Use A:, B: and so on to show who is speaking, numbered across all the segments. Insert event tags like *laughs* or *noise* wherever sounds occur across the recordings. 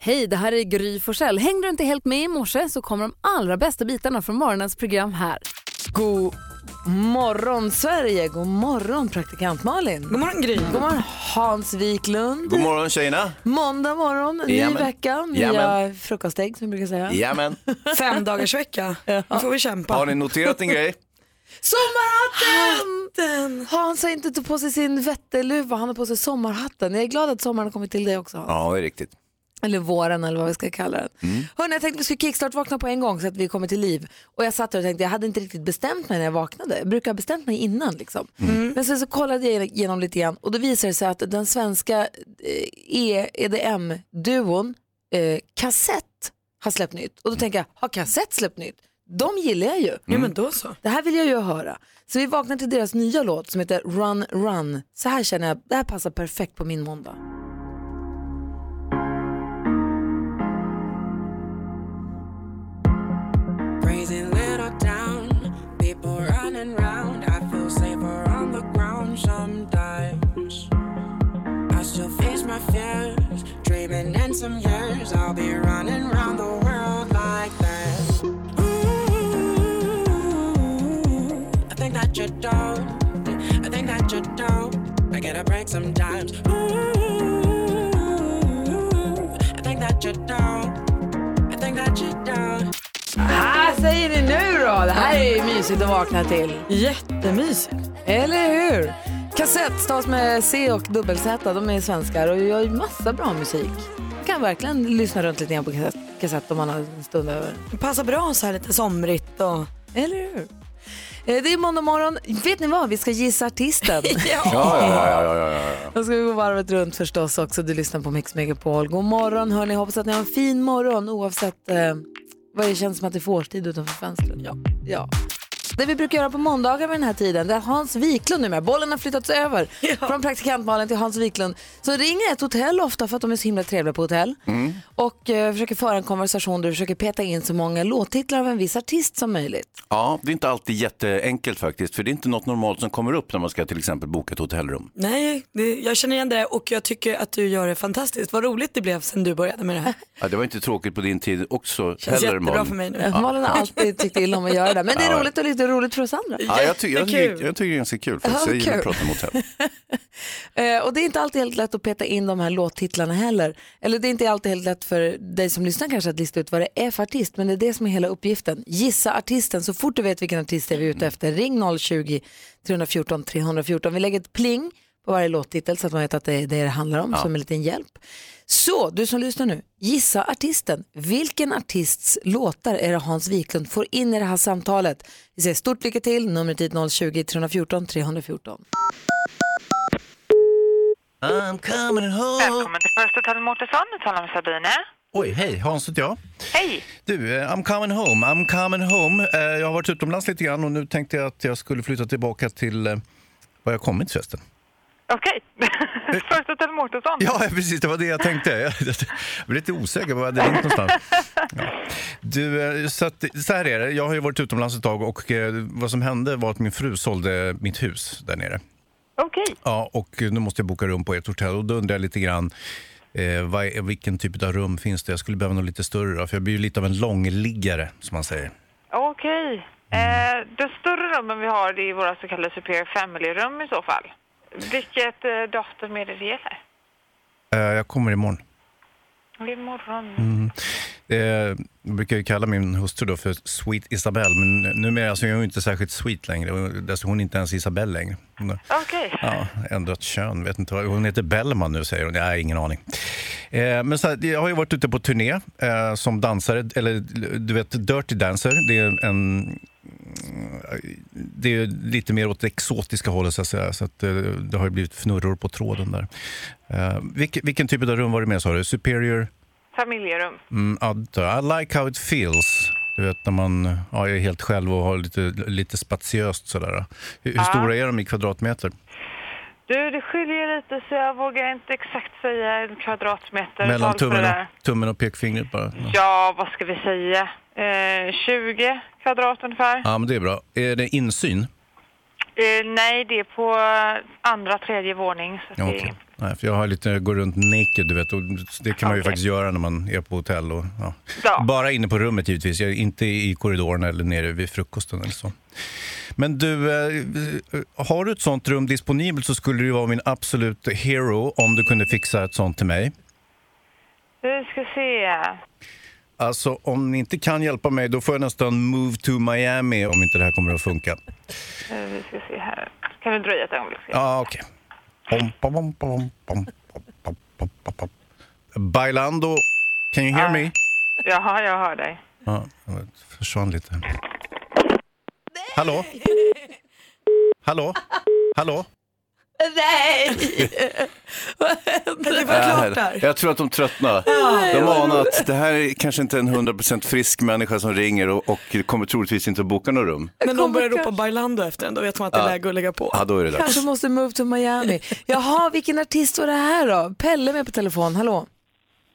A: Hej, det här är Gry Forssell. Hängde du inte helt med i morse så kommer de allra bästa bitarna från morgonens program här.
B: God morgon Sverige, god morgon praktikant Malin. God morgon Gry. God morgon Hans Wiklund.
C: God morgon tjejerna.
B: Måndag morgon, ny
C: Jajamän.
B: vecka, nya
C: Jajamän.
B: frukostägg som vi brukar säga.
C: Jajamän.
D: *laughs* Fem dagars vecka. Nu får vi kämpa.
C: Har ni noterat en grej?
B: Sommarhatten! Hans har inte tagit på sig sin vätteluva, han har på sig sommarhatten. Jag är glad att sommaren har kommit till dig också Hans.
C: Ja, det är riktigt. Mm.
B: Eller våren eller vad vi ska kalla den. Hörrni, jag tänkte vi skulle kickstart-vakna på en gång så att vi kommer till liv. Och jag satt där och tänkte, jag hade inte riktigt bestämt mig när jag vaknade. Jag brukar ha bestämt mig innan liksom.
D: Mm.
B: Men sen så kollade jag igenom lite grann och då visade det sig att den svenska eh, E- EDM-duon eh, Kassett har släppt nytt. Och då tänker jag, har Kassett släppt nytt? De gillar jag ju.
D: *laughs* Ja men då så.
B: Det här vill jag ju höra. Så vi vaknar till deras nya låt som heter Run Run. Så här känner jag, det här passar perfekt på min måndag.
E: Raising little town, people running round. I feel safer on the ground sometimes. I still face my fears, dreaming in some years I'll be running round the world like that. Ooh, I think that you're dope. I think that you're dope. I get a break sometimes. Ooh, I think that you're dope. I think that you're dope.
B: Här säger ni nu då? Det här är ju mysigt att vakna till.
D: Jättemysigt.
B: Eller hur? Kassett stavas med C och dubbel-Z. De är svenskar och gör ju massa bra musik. Man kan verkligen lyssna runt lite grann på kassett, kassett om man har en stund över.
D: Det passar bra så här lite somrigt och...
B: Eller hur? Eh, Det är måndag morgon. Vet ni vad? Vi ska gissa artisten.
C: Ja, ja, ja, ja, ja, ja.
B: Då ska vi gå varvet runt förstås också. Du lyssnar på Mix Megapol. God morgon hörni. Hoppas att ni har en fin morgon oavsett eh, vad det känns som att det är för årstid utanför fönstret. Ja. ja. Det vi brukar göra på måndagar vid den här tiden, det är Hans Wiklund nu med. Bollen har
C: *laughs*
B: flyttats över från praktikantmalen till Hans Wiklund. Så ringer ett hotell ofta för att de är så himla trevliga på hotell. Och eh, försöker föra en konversation där du försöker peta in så många låttitlar av en viss artist som möjligt.
C: ja, det är inte alltid jätteenkelt faktiskt. För det är inte något normalt som kommer upp när man ska till exempel boka ett hotellrum.
D: Nej, det, jag känner igen det och jag tycker att du gör det fantastiskt. Vad roligt det blev sen du började med det här.
C: Ja, det var inte tråkigt på din tid också
D: Känns
C: heller
D: jättebra
C: Malin.
D: för mig nu.
B: Ja. Malin har alltid tyckt illa om att göra det, men det är roligt och lite roligt för oss andra.
C: Ja, jag, ty- jag, tycker,
D: Jättekul.
C: jag tycker det är ganska kul faktiskt. Jag
B: Ja,
C: gillar att
B: kul.
C: prata med hotell.
B: Eh, och det är inte alltid helt lätt att peta in de här låttitlarna heller. Eller det är inte alltid helt lätt för dig som lyssnar kanske att lista ut vad det är för artist, men det är det som är hela uppgiften. Gissa artisten, så fort du vet vilken artist det är vi är ute efter, ring 020-314 314. Vi lägger ett pling på varje låttitel så att man vet att det är det det handlar om, som en liten hjälp. Så, du som lyssnar nu, gissa artisten. Vilken artists låtar är det Hans Wiklund får in i det här samtalet? Vi säger stort lycka till, numret hit 020-314 314.
C: I'm coming home.
F: Välkommen till First Hotel Mårtensson. Du talar med Sabine.
C: *laughs* Oj, hej, Hans heter jag.
F: Hej!
C: Du, eh, I'm coming home, I'm coming home. Eh, Jag har varit utomlands lite grann och nu tänkte jag att jag skulle flytta tillbaka till eh, var jag kommit förresten.
F: Okej. *laughs* First Hotel Mårtensson.
C: Ja, *laughs* ja, precis. Det var det jag tänkte. *laughs* Jag blev lite osäker på vad jag hade ringt någonstans. Ja. Du, eh, så, att, så här är det. Jag har ju varit utomlands ett tag och eh, vad som hände var att min fru sålde mitt hus där nere.
F: Okej.
C: Ja, och nu måste jag boka rum på ett hotell och då undrar jag lite grann eh, vad, är- vilken typ av rum finns det? Jag skulle behöva något lite större då, för jag blir ju lite av en långliggare som man säger.
F: *laughs* Okej. Eh, de större rummen vi har det är våra så kallade Superior Family-rum i så fall. Vilket eh, datum är det det gäller?
C: Eh, jag kommer imorgon.
F: Imorgon.
C: Eh, jag brukar ju kalla min hustru då för Sweet Isabelle, men numera så är hon ju inte särskilt sweet längre. Och Dessutom hon är inte ens Isabelle längre. Hon har
F: Okej.
C: ja, ändrat kön, vet inte vad. Hon heter Bellman nu säger hon. Jag har ingen aning. Eh, men så här, jag har ju varit ute på turné eh, som dansare, eller du vet Dirty Dancer. Det är en... eh, Det är lite mer åt det exotiska hållet så att säga. Så att, eh, det har ju blivit fnurror på tråden där. Eh, vilken, vilken typ av rum var det med sa du? Superior?
F: Familjerum.
C: Mm, adda. I like how it feels. Du vet när man ja, är helt själv och har lite, lite spatiöst sådär. Hur, hur stora är de i kvadratmeter?
F: Du, det skiljer lite så jag vågar inte exakt säga en kvadratmeter.
C: Mellan
F: tal
C: tummen
F: för det där.
C: och, tummen och pekfingret bara. Ja.
F: Ja, vad ska vi säga? Eh, 20 kvadrat ungefär.
C: ja, men det är bra. Är det insyn?
F: Eh, nej, det är på eh, andra, tredje våning. Så att
G: Ja,
F: det-
G: okej. Nej, för jag har lite, går runt naked, du vet. Och det kan man ju faktiskt göra när man är på hotell. Och, ja.
F: Ja.
G: Bara inne på rummet givetvis, Jag är inte i korridoren eller nere vid frukosten eller så. Men du, eh, har du ett sånt rum disponibelt så skulle du vara min absolut hero om du kunde fixa ett sånt till mig.
F: Vi ska se.
G: Alltså om ni inte kan hjälpa mig då får jag nästan move to Miami om inte det här kommer att funka.
F: Eh, Vi ska se här. Kan du dröja ett ögonblick?
G: Ja, okej. Pom, pom, pom, pom, pom, pom, pom, pom, pom, pom. Bailando, can you hear me?
F: Jaha, jag hör dig.
G: Ja, det försvann lite. Hallå? Hallå? Hallå?
D: Men det var klart där.
C: Äh, Jag tror att de tröttnar. De anar att det här är kanske inte en 100% frisk människa som ringer och, och kommer troligtvis inte att boka något rum.
D: När någon börjar ropa Bailando efter en, då vet man att det är läge att lägga på.
C: Ja, då är det dags.
B: Kanske måste move to Miami. Jaha, vilken artist var det här då? Pelle med på telefon, hallå.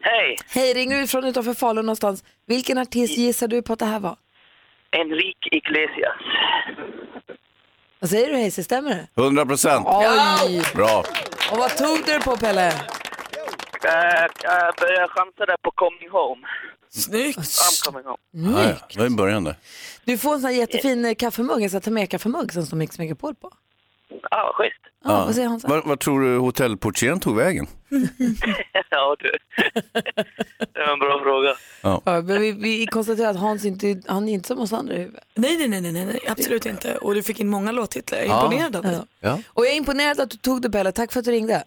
H: Hej,
B: Hej, ringer du ifrån utanför Falun någonstans? Vilken artist gissar du på att det här var?
H: Enrique Iglesias.
B: Vad säger du Hayes, stämmer det?
C: 100%.
B: Oj!
C: Bra.
B: Och vad tog du det på Pelle?
H: Eh, Jag började chansa där på Coming Home.
D: Snyggt.
H: I'm coming home.
C: Ja, ja. Det var ju början där.
B: Du får en sån här jättefin eh, kaffemugg, en sån här Tamea-kaffemugg som står Mix Megapol på.
H: Ja, ah, schysst.
B: Ja, Vad säger Hansa?
C: Vad tror du hotellportieren tog vägen?
H: *laughs* ja, du. det var en bra fråga.
B: Ja, men vi, vi konstaterar att Hans inte, han är inte som oss andra i huvudet.
D: Nej, nej, nej, nej, nej, absolut inte. Och du fick in många låttitlar. Jag är imponerad av dig.
C: Ja.
B: Och jag är imponerad att du tog det Pelle, tack för att du ringde.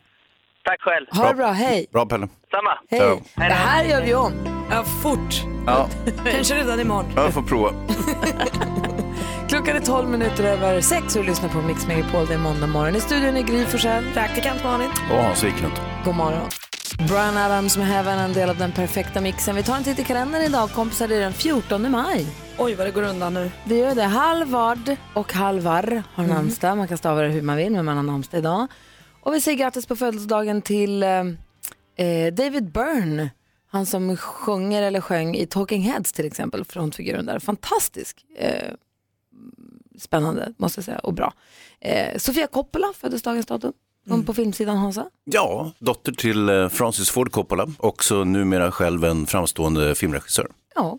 H: Tack själv.
B: Ha det bra, hej!
C: Bra Pelle.
H: Samma.
B: Hej! Det här gör vi om.
D: Ja, fort.
C: Ja,
D: Kanske redan imorgon.
C: jag får prova.
B: Klockan är 12 minuter över 6 och du lyssnar på Mix Megapol. Det är måndag morgon. I studion är Gry Forssell.
D: Praktikant Malin.
C: Åh, Hans Wiklund.
B: God morgon. Brian Adams med Heaven, en del av den perfekta mixen. Vi tar en titt i kalendern idag, kompisar. Det är den 14 maj.
D: Oj, vad det går undan nu.
B: Det gör det. Halvard och Halvar har namnsdag. Man kan stava det hur man vill, men man har namnsdag idag. Och vi säger grattis på födelsedagen till eh, eh, David Byrne. Han som sjunger eller sjöng i Talking Heads till exempel, frontfiguren där. Fantastisk. Eh, spännande, måste jag säga, och bra. Eh, Sofia Coppola föddes dagens datum. Hon på filmsidan, Hansa.
C: Ja, dotter till eh, Francis Ford Coppola, också numera själv en framstående filmregissör.
B: Ja.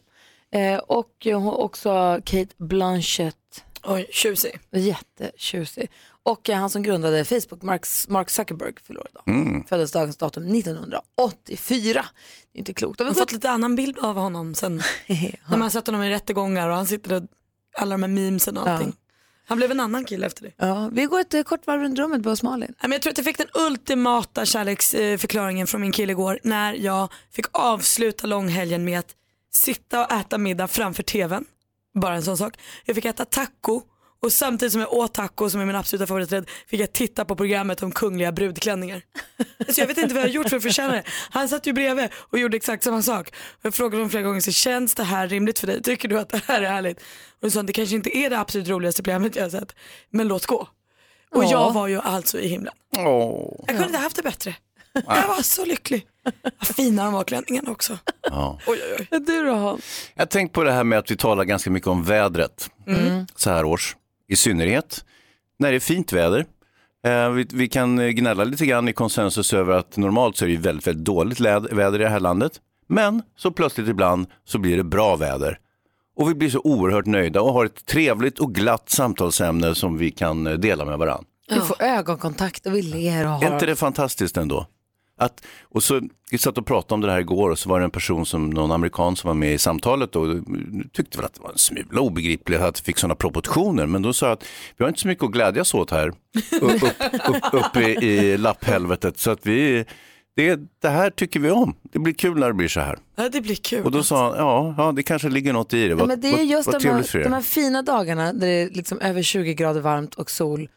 B: Eh, och hon- också Kate Blanchett.
D: Oj, tjusig.
B: Jättetjusig. Och eh, han som grundade Facebook, Mark, Mark Zuckerberg, förlorar idag.
C: Mm.
B: Föddes dagens datum 1984. Det är inte klokt.
D: Man
B: Och
D: har
B: vi
D: fått lite annan bild av honom *laughs* sen. När man har sett honom i rättegångar och han sitter och alla de här memesen och allting. Han blev en annan kille efter det.
B: Ja, vi går ett eh, kort varv runt rummet, Buss Malin.
D: Nej, men Jag tror att jag fick den ultimata kärleksförklaringen från min kille igår när jag fick avsluta långhelgen med att sitta och äta middag framför tvn. Bara en sån sak. Jag fick äta taco och samtidigt som jag åt taco som är min absoluta favoriträtt fick jag titta på programmet om kungliga brudklänningar. Alltså jag vet inte vad jag har gjort för att förtjäna det. Han satt ju bredvid och gjorde exakt samma sak. Och jag frågade honom flera gånger, så känns det här rimligt för dig? Tycker du att det här är härligt? Och då sa han, det kanske inte är det absolut roligaste programmet jag har sett, men låt gå. Och jag var ju alltså i himlen. Jag kunde inte haft det bättre. Jag var så lycklig. Vad fina de var klänningarna också.
C: Ja.
D: Oj, oj, oj.
B: Du då, Hans?
C: Jag tänkte på det här med att vi talar ganska mycket om vädret så här års. I synnerhet när det är fint väder. Eh, Vi, vi kan eh, gnälla lite grann i konsensus över att normalt så är det ju väldigt, väldigt dåligt läd- väder i det här landet. Men så plötsligt ibland så blir det bra väder. Och vi blir så oerhört nöjda och har ett trevligt och glatt samtalsämne som vi kan eh, dela med varandra.
B: Vi får ögonkontakt och vi ler och
C: Är inte
B: har...
C: det fantastiskt ändå? Att, och så, vi satt och pratade om det här igår och så var det en person, som, någon amerikan som var med i samtalet och tyckte väl att det var en smula obegripligt att det fick sådana proportioner. Men då sa jag att vi har inte så mycket att glädjas åt här uppe upp, upp, upp i, i lapphelvetet. Så att vi, det, det här tycker vi om. Det blir kul när det blir så här.
D: Ja, det blir kul.
C: Och då sa han, ja, ja det kanske ligger något i det.
B: Ja,
C: Vad,
B: men det är just
C: vad, vad
B: de,
C: trevligt för
B: här,
C: er.
B: de här fina dagarna där det är liksom över 20 grader varmt och sol.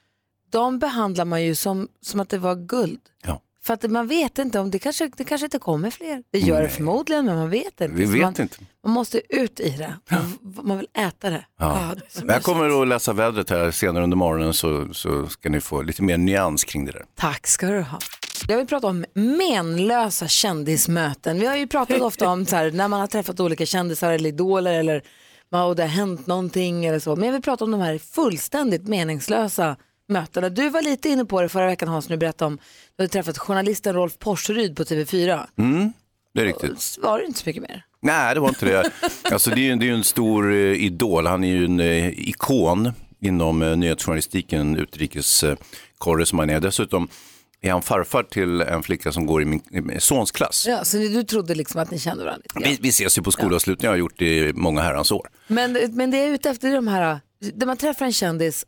B: De behandlar man ju som, som att det var guld.
C: Ja.
B: För att man vet inte om det kanske, det kanske inte kommer fler. Det gör det förmodligen, men man vet inte.
C: Vi
B: Så
C: vet
B: man,
C: inte.
B: Man måste ut i det. Man- Man vill äta det. Ah.
C: Ja. Men jag kommer att läsa vädret här senare under morgonen så, så ska ni få lite mer nyans kring det där.
B: Tack ska du ha. Jag vill prata om menlösa kändismöten. Vi har ju pratat ofta om så här, när man har träffat olika kändisar eller idoler eller man- och det har hänt någonting eller så. Men jag vill prata om de här fullständigt meningslösa mötena. Du var lite inne på det förra veckan Hans, när du berättade om du hade träffat journalisten Rolf Porseryd på TV4.
C: Mm, det är riktigt.
B: Så var det inte så mycket mer.
C: Nej, det var inte det. Alltså, det, är ju, det är ju en stor eh, idol. Han är ju en eh, ikon inom eh, nyhetsjournalistiken, utrikeskorrespondent. Eh, Dessutom är han farfar till en flicka som går i min i min sons klass.
B: Ja, så du trodde liksom att ni kände varandra lite grann.
C: Vi, vi ses ju på skolavslutningar, jag har gjort det i många herrans år.
B: Men, men det är ute efter de här, där man träffar en kändis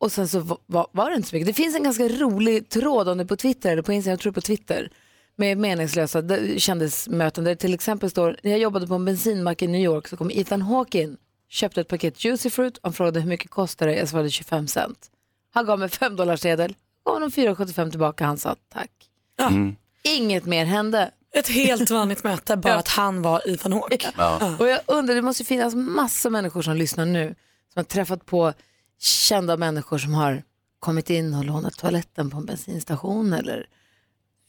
B: och sen så va- va- var det inte så mycket. Det finns en ganska rolig tråd om det på Twitter eller på Instagram, jag tror på Twitter, med meningslösa d- kändismöten där det till exempel står, när jag jobbade på en bensinmack i New York så kom Ethan Hawke in, köpte ett paket Juicy Fruit, han frågade hur mycket kostar det, jag svarade 25 cent. Han gav mig 5 dollarsedel, gav honom 4,75 tillbaka, han sa tack.
D: Ja.
C: Mm.
B: Inget mer hände.
D: Ett helt vanligt möte, bara att han var Ivan Hawk.
C: Ja.
B: Och jag undrar, det måste ju finnas massa människor som lyssnar nu som har träffat på kända människor som har kommit in och lånat toaletten på en bensinstation eller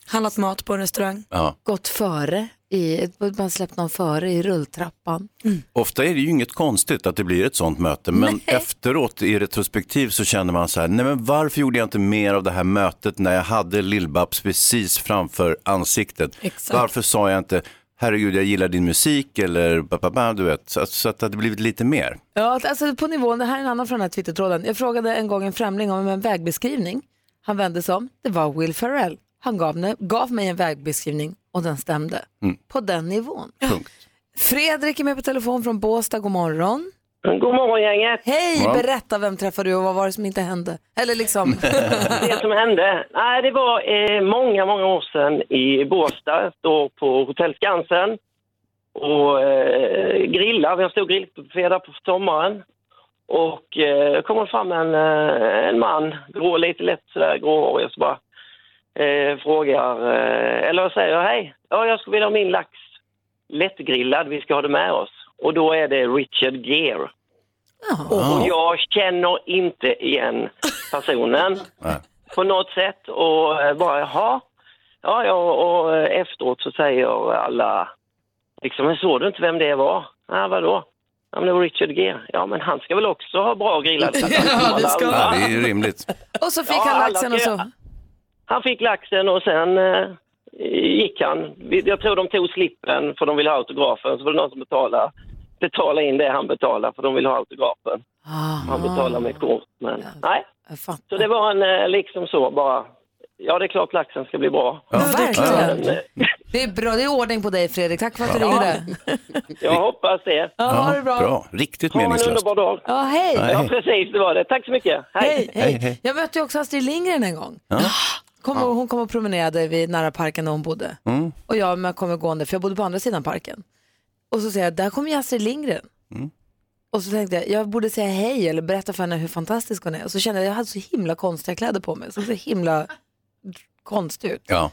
D: Handlat mat på en restaurang.
C: Ja.
B: gått före, i, man släppt någon före i rulltrappan.
C: Ofta är det ju inget konstigt att det blir ett sånt möte, men efteråt i retrospektiv så känner man så här, nej men varför gjorde jag inte mer av det här mötet när jag hade Lill-Babs precis framför ansiktet?
D: Exakt.
C: Varför sa jag inte, herregud jag gillar din musik eller ba, ba, ba, du vet, så, att- så att det hade blivit lite mer.
B: Ja, att- alltså på nivån, det här är en annan från den här twittertråden. Jag frågade en gång en främling om en vägbeskrivning. Han vände sig om, det var Will Ferrell. Han gav, ne- gav mig en vägbeskrivning och den stämde. På den nivån.
C: Mm. Punkt.
B: Fredrik är med på telefon från Båstad, god morgon.
H: God morgon gänget.
B: Hej,
C: Ja.
B: berätta vem träffade du och vad var det som inte hände? Eller liksom,
H: *laughs* Det som hände, nej, det var eh, många, många år sedan i Båstad, då på Hotell Skansen och eh, grillade. Vi har en stor grillbuffé där på sommaren. Och eh, kommer fram en, eh, en man, grå, lite lätt sådär gråhårig, så bara eh, frågar, eh, eller säger hej, ja, jag skulle vilja ha min lax lättgrillad, vi ska ha det med oss. Och då är det Richard Gere.
C: Ah.
H: Och jag känner inte igen personen
C: Nej.
H: på något sätt och eh, bara jaha. Ja, ja och eh, efteråt så säger alla liksom, men såg du inte vem det var? Ja, vadå? Ja, men det var Richard Gere. Ja, men han ska väl också ha bra grillad lax?
D: *laughs* Ja, det ska
C: Ja, det är ju rimligt.
B: och så fick
H: Ja,
B: han
H: alla
B: laxen och
H: ska-
B: så.
H: Han fick laxen och sen eh, gick han. Vi- Jag tror de tog slippen för de ville ha autografen. Så var det någon som betalade, betalade in det han betalade för de ville ha autografen.
D: Ah.
H: Han betalade med kort, men nej.
B: Jag fattar.
H: Så det var en eh, liksom så bara. Ja, det är klart laxen ska bli bra.
B: Verkligen.
H: Men, eh,
B: Det är bra, det är ordning på dig Fredrik. Tack för att du ringde.
H: jag hoppas det.
B: Ja, ha det bra.
C: Riktigt
H: Ha en
C: meningslöst.
H: underbar dag.
B: Ja, hej.
C: Nej.
H: Ja, precis, det var det. Tack så mycket.
B: Hej, hej.
C: Hej, hej.
B: Jag mötte ju också Astrid Lindgren en gång. Kom och, hon kom och promenerade vid nära parken där hon bodde. Och jag men kommer gående, för jag bodde på andra sidan parken. Och så säger jag, där kommer ju Astrid Lindgren. Och så tänkte jag, jag borde säga hej eller berätta för henne hur fantastisk hon är. Och så kände jag, jag hade så himla konstiga kläder på mig. Så, så himla konstig ut.
C: Ja.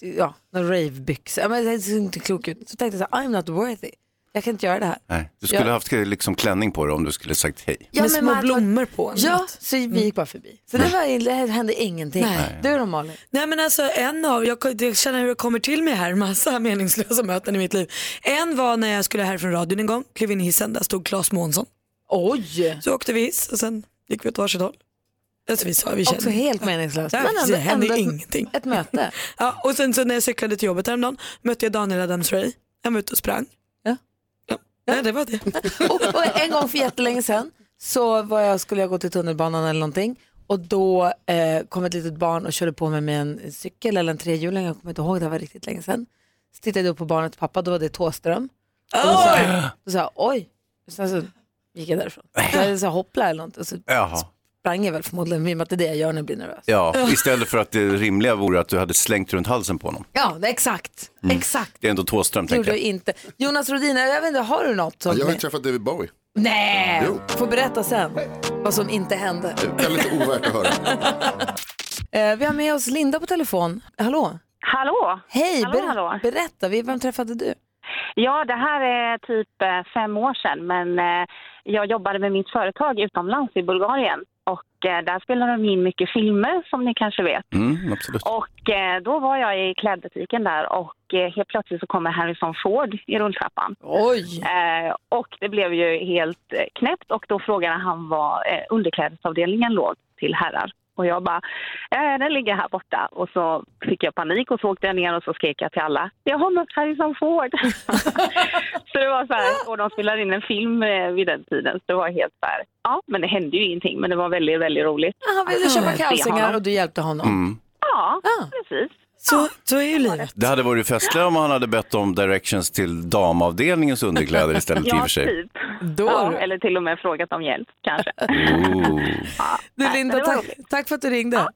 B: ja, några ravebyxor. Ja, men Det ser inte klok ut. Så tänkte jag så här, I'm not worthy. Jag kan inte göra det här.
C: Nej. Du skulle haft liksom klänning på dig om du skulle sagt hej.
B: Ja,
D: Med små
B: man-
D: blommor på. eller
B: Ja,
D: något.
B: så vi gick bara förbi. Så det, var, det hände ingenting.
D: Nej.
B: Du då Malin?
D: Nej men alltså en av, jag, jag känner hur det kommer till mig här, massa *laughs* meningslösa möten i mitt liv. En var när jag skulle härifrån radion en gång, klev in i hissen, där stod Claes Månsson.
B: Oj!
D: Så åkte vi hiss och sen gick vi åt varsitt håll. Alltså vi sa, vi kände.
B: Också
D: *laughs*
B: helt meningslöst.
D: Nej,
B: ändå-
D: det hände
B: ändå ett-
D: ingenting.
B: Ett möte.
D: Ja, och sen så när jag cyklade till jobbet häromdagen mötte jag Daniel Adams-Ray. Han var ute och sprang.
B: Ja.
D: Ja. Nej, det var det.
B: Och, och en gång för jättelänge sedan så var jag, skulle jag gå till tunnelbanan eller någonting och då eh, kom ett litet barn och körde på mig med en cykel eller en trehjuling, jag kommer inte ihåg, det var riktigt länge sedan. Så tittade jag upp på barnets pappa, då var det Tåström.
D: Oj!
B: Då sa jag oj, sen så gick jag därifrån. Så jag sa hoppla eller något och så
C: Jaha.
B: sprang jag väl förmodligen, i och med att det är det jag gör när jag blir nervös.
C: Ja, istället för att det rimliga vore att du hade slängt runt halsen på honom. Mm.
B: Ja, det- exakt. Exakt.
C: Det är ändå Thåström,
B: Det gjorde
C: tänker
B: jag
C: jag.
B: inte. Jonas Rodin, jag vet inte, har du något? Som
I: Jag har ju träffat David Bowie.
B: Nej!
I: Jo.
B: Får berätta sen vad som inte hände.
I: Det är lite ovärt att höra.
B: Eh, vi har med oss Linda på telefon. Hallå?
J: Hallå!
B: Hej,
J: Hallå,
B: ber-
J: hallå.
B: berätta. vi- Vem träffade du?
J: Ja, det här är typ eh, fem år sedan, men eh, jag jobbade med mitt företag utomlands i Bulgarien och eh, där spelar de in mycket filmer som ni kanske vet.
C: Mm, absolut.
J: Och eh, då var jag i klädbutiken där och eh, helt plötsligt så kommer Harrison Ford i rulltrappan.
B: Oj!
J: Eh, och det blev ju helt eh, knäppt och då frågade han var eh, underklädesavdelningen låg till herrar. Och jag bara, eh, den ligger här borta. Och så fick jag panik och så åkte jag ner och så skrek jag till alla, jag har mött Harrison Ford. så det var så här, och de spelade in en film eh, vid den tiden. Så det var helt så här, ja men det hände ju ingenting men det var väldigt, väldigt roligt.
B: Han ville
J: att
B: köpa
J: se
B: kalsingar
J: honom.
B: och du hjälpte honom. Ah.
C: Mm.
J: Ja, precis.
D: Så, så är ju livet.
C: Det hade varit festligare om han hade bett om directions till damavdelningens underkläder istället i och
J: Ja,
C: för sig.
J: typ. Ja, eller till och med frågat om hjälp kanske.
C: Ooh.
B: Du Linda,
J: det var
B: tack, tack för att du ringde.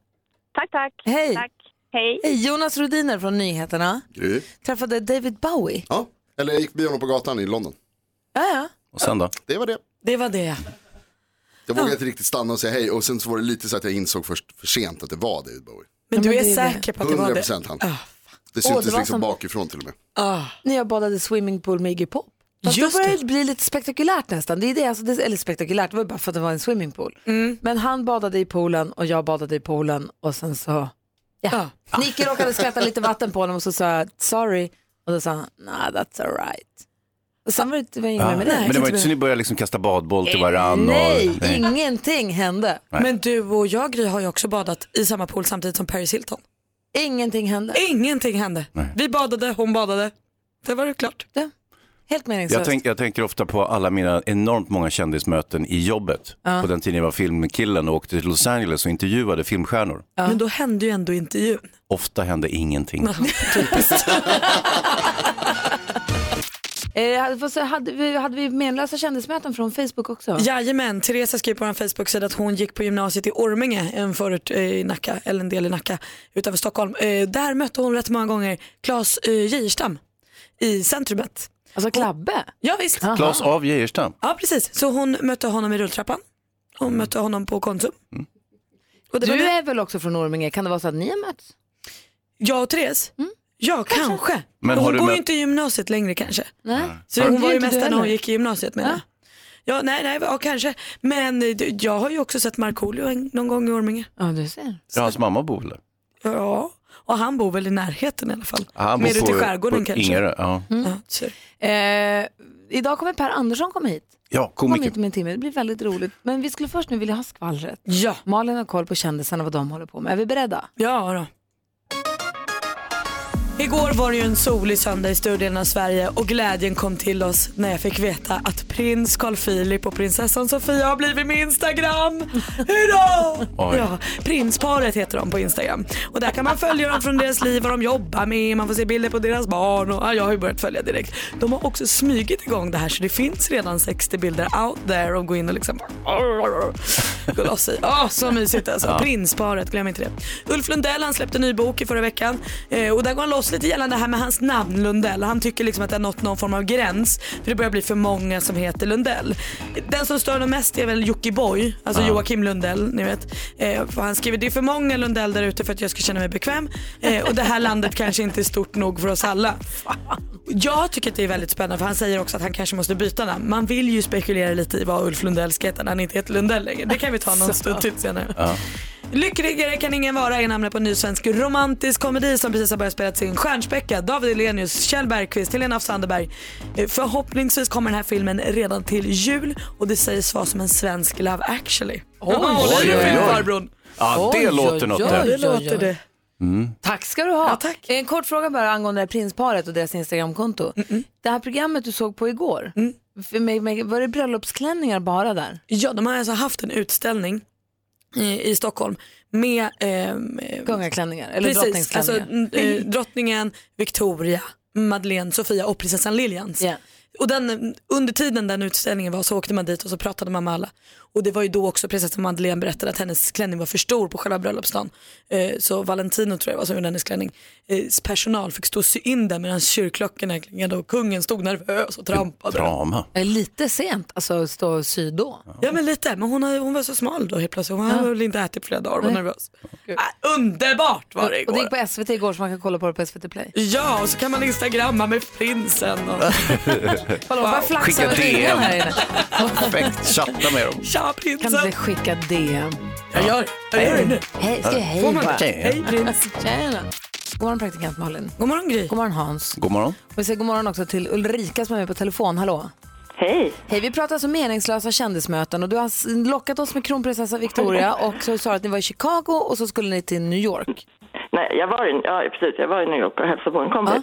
J: Tack, tack.
B: Hej.
J: Tack. Hej.
B: Hej, Jonas Rodiner från Nyheterna
I: Gry.
B: träffade David Bowie.
I: Ja, eller jag gick förbi honom på gatan i London.
B: Ja, ja.
C: Och sen då?
I: Det var det.
D: Det var det.
I: Jag vågade inte riktigt stanna och säga hej och sen så var det lite så att jag insåg först för sent att det var David Bowie.
D: Men du
B: men
D: är
B: det är det.
D: säker på att det var
I: 100
D: det?
I: procent han.
D: Ah,
I: Det
B: Åh, det
I: syntes
B: var
I: liksom
B: som-
I: bakifrån till och med.
D: Ah.
B: När jag badade swimmingpool med Iggy Pop. Fast
D: Just
B: då började
D: det.
B: det bli lite spektakulärt nästan. Det är det, alltså, det, eller spektakulärt, det var ju bara för att det var en swimmingpool.
D: Mm.
B: Men han badade i poolen och jag badade i poolen och sen så, ja. Nicky råkade skvätta lite vatten på honom och så sa jag sorry och då sa han nah that's alright. Och sen var det, det var inget mer med det.
C: Men det var inte så ni började liksom kasta badboll till varann?
B: Nej,
C: Och, nej.
B: ingenting hände.
D: Men du och jag Gry har ju också badat i samma pool samtidigt som Paris Hilton.
B: Ingenting hände.
D: Ingenting hände. Vi badade, hon badade. Det var det klart.
B: Det- Helt meningslöst.
C: Jag, tänk, jag tänker ofta på alla mina enormt många kändismöten i jobbet. På den tiden jag var filmkillen och åkte till Los Angeles och intervjuade filmstjärnor.
D: Men då hände ju ändå intervjun.
C: Ofta hände ingenting.
B: typ Eh, hade- vad sa- hade, vi, hade vi menlösa kändismöten från Facebook också?
D: *laughs* Jajamän, Therese skrev på vår Facebook-sida att hon gick på gymnasiet i Orminge, en förort eh, i Nacka, eller en del i Nacka utanför Stockholm. Eh, Där mötte hon rätt många gånger Claes eh, Geijerstam i centrumet.
B: Alltså Klabbe?
D: Ja visst.
C: *laughs* Claes av Geijerstam.
D: Ja precis, så hon mötte honom i rulltrappan. Hon
C: Mm.
D: mötte honom på Konsum. Och det var
B: Du
D: det.
B: är väl också från Orminge? Kan det vara Mm. så att ni har mötts?
D: Jag och Therese? Ja kanske.
C: Men
D: Men
C: har
D: hon
C: du
D: går
C: mött-
D: ju inte i gymnasiet längre kanske.
B: Nej.
D: Så
B: Men det
D: hon
B: är
D: var ju
B: inte
D: mest
B: du
D: där när hon
B: heller.
D: gick i gymnasiet menar jag. Ja, nej, nej, ja, kanske. Men eh, det- jag har ju också sett Markoolio en- någon gång i Orminge.
B: Ja, du ser.
C: Ja, hans mamma bor där.
D: Ja, och han bor väl i närheten i alla fall.
C: Ja, han bor
D: Mer ute i
C: på-
D: skärgården
C: på
D: kanske.
C: Ingarö, ja.
D: Ja, så.
B: Mm. Eh, idag kommer Per Andersson komma hit.
C: ja,
B: Kom
C: komiker.
B: hit om en timme, det blir väldigt roligt. Men vi skulle först nu vilja ha skvallret.
D: ja.
B: Malin har koll på kändisarna, vad de håller på med. Är vi beredda?
D: ja då. Igår var det ju en solig söndag i större delen av Sverige och glädjen kom till oss när jag fick veta att prins Carl Philip och prinsessan Sofia har blivit med Instagram. Hurra!
C: Oj.
D: Ja, prinsparet heter de på Instagram. Och där kan man följa dem från deras liv, vad de jobbar med, man får se bilder på deras barn och ja, jag har ju börjat följa direkt. De har också smugit igång det här så det finns redan 60 bilder out there och gå in och liksom gå loss i. Åh, så mysigt alltså. Prinsparet, glöm inte det. Ulf Lundell han släppte en ny bok i förra veckan eh, och där går han loss lite gällande det här med hans namn Lundell. Han tycker liksom att det har nått någon form av gräns för det börjar bli för många som heter Lundell. Den som stör honom mest är väl Jockiboi, alltså Joakim Lundell, ni vet. Eh, för han skriver det är för många Lundell där ute för att jag ska känna mig bekväm eh, och det här landet *laughs* kanske inte är stort nog för oss alla. Jag tycker att det är väldigt spännande för han säger också att han kanske måste byta namn. Man vill ju spekulera lite i vad Ulf Lundell ska heta när han inte heter Lundell längre. Det kan vi ta någon stund till senare. Lyckligare kan ingen vara är namnet på en ny svensk romantisk komedi som precis har börjat spelas in. Stjärnspäckad, David Hellenius, Kjell Bergqvist, Helena af Sanderberg. Eh, Förhoppningsvis kommer den här filmen redan till jul och det sägs vara som en svensk Love actually. Oj,
C: oj, oj.
D: farbrorn.
C: Ja, det
B: Oj,
C: låter
B: oj,
C: något Mm,
B: oj.
C: det.
D: Det låter det.
B: Tack ska du ha.
D: Ja, tack.
B: En kort fråga bara angående det här prinsparet och deras Instagramkonto. Det här programmet du såg på igår, för mig, mig, var det bröllopsklänningar bara där?
D: Mm. Ja, de har alltså haft en utställning i, i Stockholm med ehm, eh,
B: Kungaklänningar eller
D: Precis, alltså,
B: drottningsklänningar? Mm. *laughs*
D: n- eh, drottningen, Victoria, Madeleine, Sofia och prinsessan Lilians.
B: Ja.
D: Och den, under tiden den utställningen var så åkte man dit och så pratade man med alla. Och det var ju då också prinsessan Madeleine berättade att hennes klänning var för stor på själva bröllopsdagen. Eh, så Valentino tror jag var som gjorde hennes klänning. Eh, personal fick stå och sy in den medan kyrkklockorna klingade och kungen stod nervös och trampade.
C: Drama.
B: Eh, Lite sent, alltså stå och sy då.
D: Ja men lite, men hon, hade, hon var så smal då helt plötsligt. Hon hade väl inte ätit på flera dagar och var nervös. Ah, underbart var det
B: och
D: igår.
B: det gick på SVT igår så man kan kolla på det på SVT Play.
D: Ja, och så kan man instagramma med prinsen
C: *laughs*
D: och
B: *laughs* Hallå, wow. bara flaxa
C: Skicka
B: över
C: DM.
B: ringen här inne.
C: Perfekt, chatta med dem.
D: tja
B: Kan du
D: prinsen.
B: inte skicka DM?
D: Jag gör, jag gör det nu.
B: Hej, ska jag hej
D: Får man
B: bara?
D: det? Hej prins.
B: Tjena. God morgon praktikant Malin.
D: God morgon Gry.
B: God morgon Hans.
C: God morgon.
B: Och vi säger god morgon också till Ulrika som är med på telefon. Hallå.
J: Hej!
B: Hej, vi pratar alltså meningslösa kändismöten och du har s- lockat oss med kronprinsessa
K: *laughs*
B: Victoria och så sa du att ni var i Chicago och så skulle ni till New York.
K: Nej, jag var i, ja, precis, jag var i New York och hälsade på en kompis.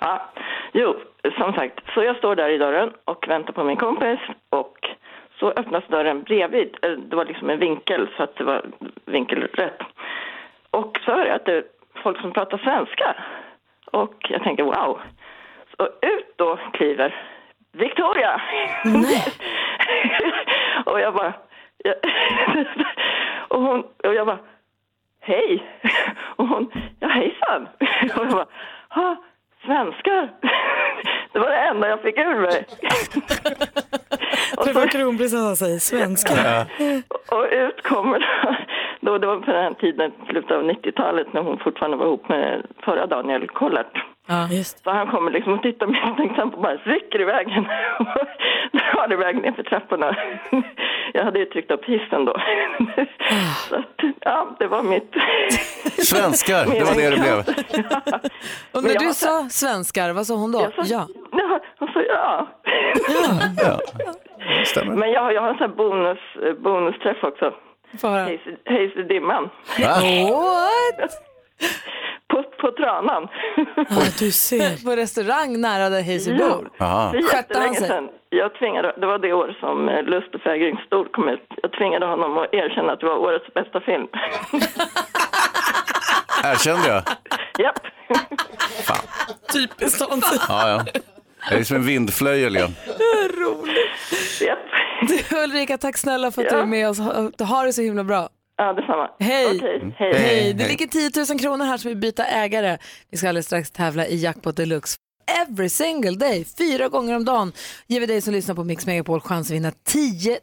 K: Ja. Jo, som sagt, så jag står där i dörren och väntar på min kompis och så öppnas dörren bredvid. Eller, Det var liksom en vinkel så att det var vinkelrätt. Och så hör jag att det är folk som pratar svenska. Och jag tänker wow. Så ut då kliver Victoria! *laughs* och jag bara... Jag, *laughs* och, hon, och jag bara hej! *laughs* Och hon, ja hejsan! *laughs* Och jag bara, ha, svenskar! *laughs* Det var det enda jag fick ur mig.
D: Träffar kronprinsessan sig, svenska.
K: Och ut kommer då- då, det var på den här tiden, slutet av 90-talet, när hon fortfarande var ihop med förra Daniel Kollert.
D: Ja, just
K: Så han kommer liksom och tittar misstänksamt på mig, rycker i vägen *laughs* och drar iväg ner för trapporna. *laughs* Jag hade ju tryckt upp hissen då. *laughs* Så att, ja, det var mitt...
C: Svenskar, det var
K: *laughs*
C: det det blev.
B: Och
K: Men
B: när
K: jag
B: du
K: var så här-
B: sa svenskar, vad sa hon då?
K: *laughs*
B: Ja.
K: Ja, hon sa ja.
C: Ja,
K: Men jag, har- jag har en sån här bonus, eh, bonusträff också. Hejs i- Hejs i dimman.
C: Va?
B: What?
K: På, på tranan.
D: Ja, du
K: *laughs*
D: ser.
B: På restaurang nära där Hayes bor.
C: Jaha.
K: Det är
B: Skötte
K: jättelänge
B: han sig?
K: sedan. Jag tvingade, det var det år som eh, Lust och fägringstol kom ut. Jag tvingade honom att erkänna att det var årets bästa film. *laughs*
C: Erkände jag?
K: Japp.
D: Typiskt sånt.
C: Ja, *laughs* ja. Jag är som en vindflöjel. Ja.
K: Japp.
B: Du, *laughs* Ulrika, tack snälla för att du
K: Ja.
B: är med oss. Ha, ha det så himla bra.
K: Ja, detsamma.
B: Hej.
K: Okej,
C: Hej.
K: hej.
B: Hej, det ligger 10 000 kronor här som vi byta ägare. Vi ska alldeles strax tävla i Jackpot Deluxe. Every single day, fyra gånger om dagen, ger vi dig som lyssnar på Mix Megapol chans att vinna 10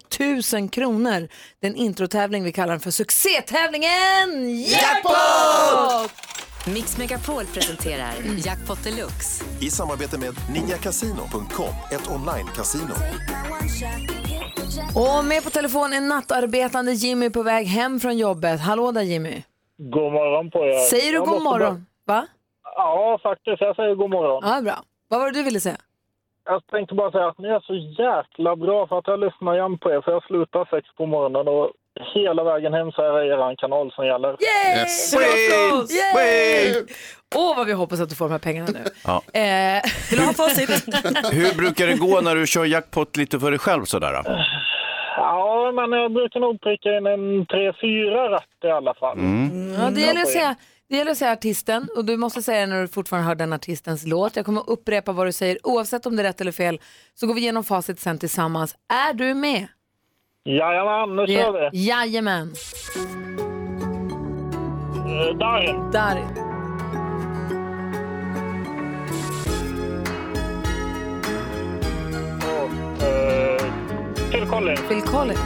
B: 000 kronor. Det är en introtävling, vi kallar den för succétävlingen Jackpot!
E: Mix Megapol presenterar Jackpot Deluxe.
L: I samarbete med ninjacasino.com, ett online-casino.
B: Och med på telefon är nattarbetande Jimmy på väg hem från jobbet. Hallå där Jimmy.
M: God morgon på er.
B: Säger du
M: Jag
B: god
M: måste
B: morgon? Va?
M: bara- Ja, faktiskt. Jag säger god morgon.
B: Ja, bra. Vad var det du ville säga?
M: Jag tänkte bara säga att ni är så jäkla bra för att jag lyssnar jämt på er. För jag slutar sex på morgonen och hela vägen hem så är det er kanal som gäller.
B: Yay!
I: Yes.
B: Förlåt oss!
C: Wait,
B: Yay! Åh, vad vi hoppas att du får de här pengarna nu.
M: Mm,
C: Ja.
B: Eh,
D: Vill du ha facit?
C: Hur brukar det gå när du kör jackpot lite för dig själv sådär? då?
M: Ja, men jag brukar nog pricka in en tre, fyra rätt i alla fall.
C: Mm.
B: ja, det, gäller att
M: får jag.
B: säga, det gäller att säga artisten och du måste säga när du fortfarande hör den artistens låt. Jag kommer upprepa vad du säger oavsett om det är rätt eller fel. Så går vi igenom facit sen tillsammans. Är du med?
M: Mm. Jajamän, nu kör vi.
B: Jajamän.
M: Eh, Darin,
B: Darin.
M: eh, Phil Collins,
B: Phil Collins.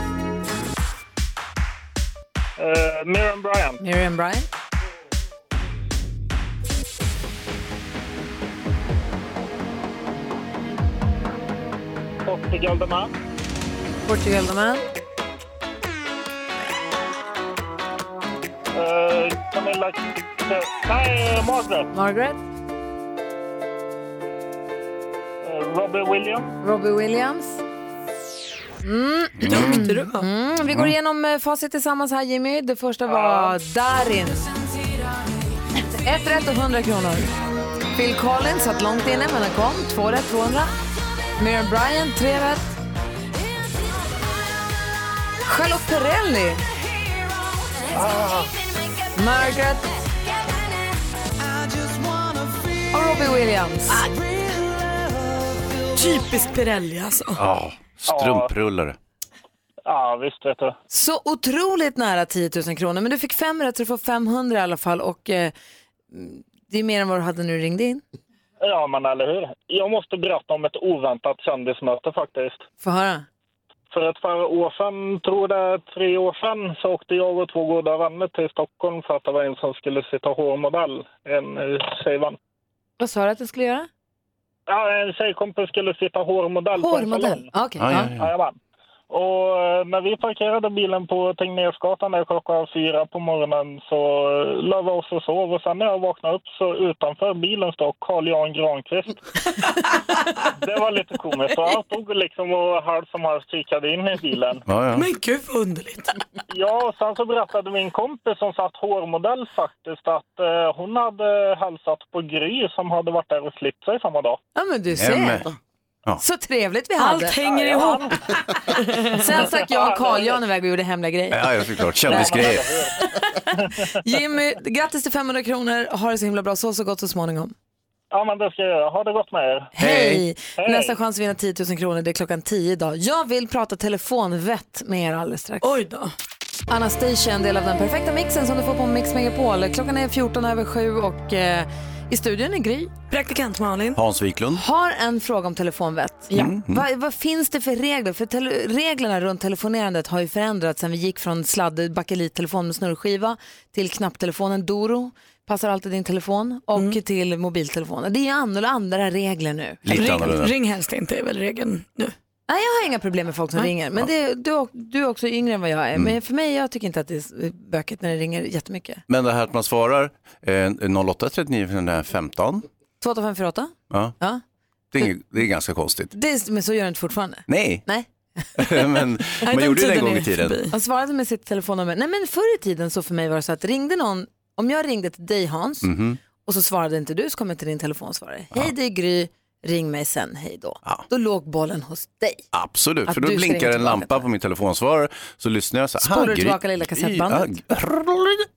M: eh, Miriam Bryant,
B: Miriam Bryant.
M: Portugal The Man,
B: Portugal The Man.
M: eh, Camilla... Nej, Margaret,
B: Margaret.
M: eh, Robbie Williams.
B: Robbie Williams.
D: Duktig du var.
B: Mm, vi går igenom eh, facit tillsammans här Jimmy. Det första var Darin. Ett rätt och 100 kronor. Phil Collins satt långt inne men han kom. Två rätt, 200. Miriam Bryant, tre rätt. Charlotte Perrelli. Ah. Margaret. Och Robbie Williams.
D: Typiskt Pirelli alltså.
C: Ja, strumprullare.
M: Ja, visst vet du.
B: Så otroligt nära 10 000 kronor. Men du fick fem rätt så du får 500 i alla fall. Och eh, det är mer än vad du hade när du ringde in.
M: Ja, men eller hur? Jag måste berätta om ett oväntat kändismöte faktiskt.
B: Få höra.
M: För ett par år sedan, tror det är tre år sedan, så åkte jag och två goda vänner till Stockholm för att det var en som skulle sitta hårmodell, en eh, tjejvän.
B: Vad sa du att du skulle göra?
M: Ja, en tjejkompis skulle sitta hårmodell på en
B: Hårmodell?
M: salong.
B: Ah, Okej.
C: Ja, ja,
B: ja.
C: ja.
M: Jajamän. Och eh, när vi parkerade bilen på Tegnérsgatan där klockan fyra på morgonen så eh, la vi oss och sov. Och sen när jag vaknade upp så utanför bilen står Carl Jan Granqvist. det var lite komiskt. Så han stod liksom och halvt som halvt kikade in i bilen.
C: Ja, ja.
D: Men gud vad underligt.
M: Ja, och sen så berättade min kompis som satt hårmodell faktiskt att eh, hon hade hälsat på Gry som hade varit där och klippt sig samma dag.
B: Ja men du ser. Så trevligt vi hade.
M: Allt hänger ihop.
B: *laughs* Sen stack jag och Carl Jan iväg och gjorde hemliga grejer.
C: Ja, ja, såklart. Kändisgrejer.
B: Jimmy, grattis till 500 kronor. Ha det så himla bra. Sov så gott så småningom.
M: Ja, men det ska jag göra. Ha det gott med er.
B: Hej! Nästa chans att vinna 10 000 kronor det är klockan 10 idag. Jag vill prata telefonvett med er alldeles strax.
D: Oj då.
B: Anastasia, en del av den perfekta mixen som du får på Mix Megapol. Klockan är 14 över 7 och eh, i studion är Gry.
D: Praktikant Malin.
C: Hans Wiklund.
B: Har en fråga om telefonvett.
C: Ja. Mm.
B: Vad, vad finns det för regler? För tele- reglerna runt telefonerandet har ju förändrats sen vi gick från sladd bakelittelefon med snurrskiva till knapptelefonen Doro. Passar alltid din telefon och
C: Mm.
B: till mobiltelefonen. Det är ju annorlunda andra regler nu.
D: ring, ring helst inte är väl regeln nu.
B: Nej, jag har inga problem med folk som
D: Nej.
B: ringer. Men det, du, är- du är också yngre än vad jag är.
C: Mm.
B: Men för mig, jag tycker inte att det är s- bökigt när det ringer jättemycket.
C: Men det här att man svarar eh, 08 39 59 15.
B: 2548?
C: Ja.
B: Ja.
C: Det, är, inget- det är ganska konstigt. *laughs*
B: Det är, men så gör det inte fortfarande.
C: Nej,
B: Nej.
C: men *laughs* man gjorde det en gång i tiden.
B: Han svarade med sitt telefonnummer. Nej men förr i tiden så för mig var det så att ringde någon, om jag ringde till dig Hans
C: Mhm.
B: och så svarade inte du så kom inte din telefon svara. Hej det är Gry, ring mig sen, hej då. Då låg bollen hos dig.
C: Absolut,
B: Att
C: för
B: du
C: då
B: ska ringa
C: blinkar en
B: tillbaka
C: lampa på min telefonsvarare så lyssnar jag så här.
B: Spolar du
C: "Ah, Gry-
B: tillbaka lilla
C: Gry- *laughs*
B: kassettbandet?"
C: ah,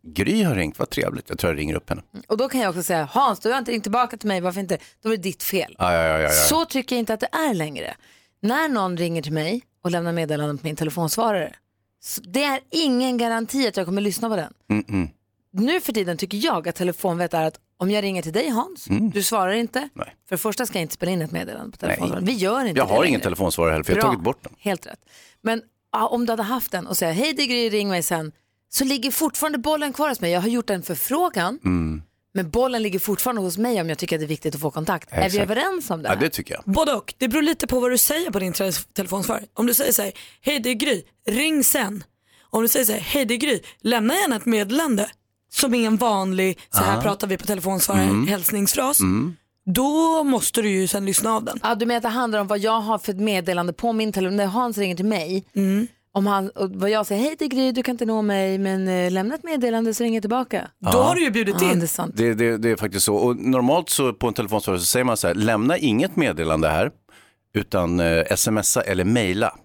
C: Gry har ringt, vad trevligt. Jag tror jag ringer upp henne.
B: Och då kan jag också säga Hans du har inte ringt tillbaka till mig, varför inte? Då var det ditt fel.
C: Ah, ja, ja, ja, ja.
B: Så tycker jag inte att det är längre. När någon ringer till mig och lämnar meddelanden på min telefonsvarare, så det är ingen garanti att jag kommer lyssna på den.
C: Mm -mm.
B: Nu för tiden tycker jag att telefonvett är att om jag ringer till dig Hans,
C: Mm.
B: du svarar inte. För det första ska jag inte spela in ett meddelande på telefonen. Vi gör inte
C: Jag
B: det
C: har
B: längre.
C: ingen telefonsvarare heller, för jag
B: Bra.
C: har tagit bort den.
B: Helt rätt. Men ja, om du hade haft den och säger hej det är Gry, ring mig sen. Så ligger fortfarande bollen kvar hos mig. Jag har gjort en förfrågan,
C: Mm.
B: men bollen ligger fortfarande hos mig om jag tycker att det är viktigt att få kontakt. Är vi
D: Exakt.
B: överens om det
C: Ja,
B: här?
C: det tycker jag.
D: Både och. Det beror lite på vad du säger på din te- telefonsvar. Om du säger så här, hej det är Gry, ring sen. Om du säger så här, hej det är Gry, lämna gärna ett meddelande som är en vanlig, så här
C: Ah.
D: pratar vi på telefonsvarare,
C: Mm.
D: hälsningsfras.
C: Mm.
D: Då måste du ju sen lyssna av den.
B: Ja, du menar att det handlar om vad jag har för ett meddelande på min telefon. När Hans ringer till mig, om han, och vad jag säger, hej det är Gry, du kan inte nå mig, men eh, lämna ett meddelande så ringer jag tillbaka.
C: Ja.
B: ja, Det är sant.
C: Det, det, det är faktiskt så. Och normalt så på en telefonsvarare så säger man så här, lämna inget meddelande här, utan eh, smsa eller mejla.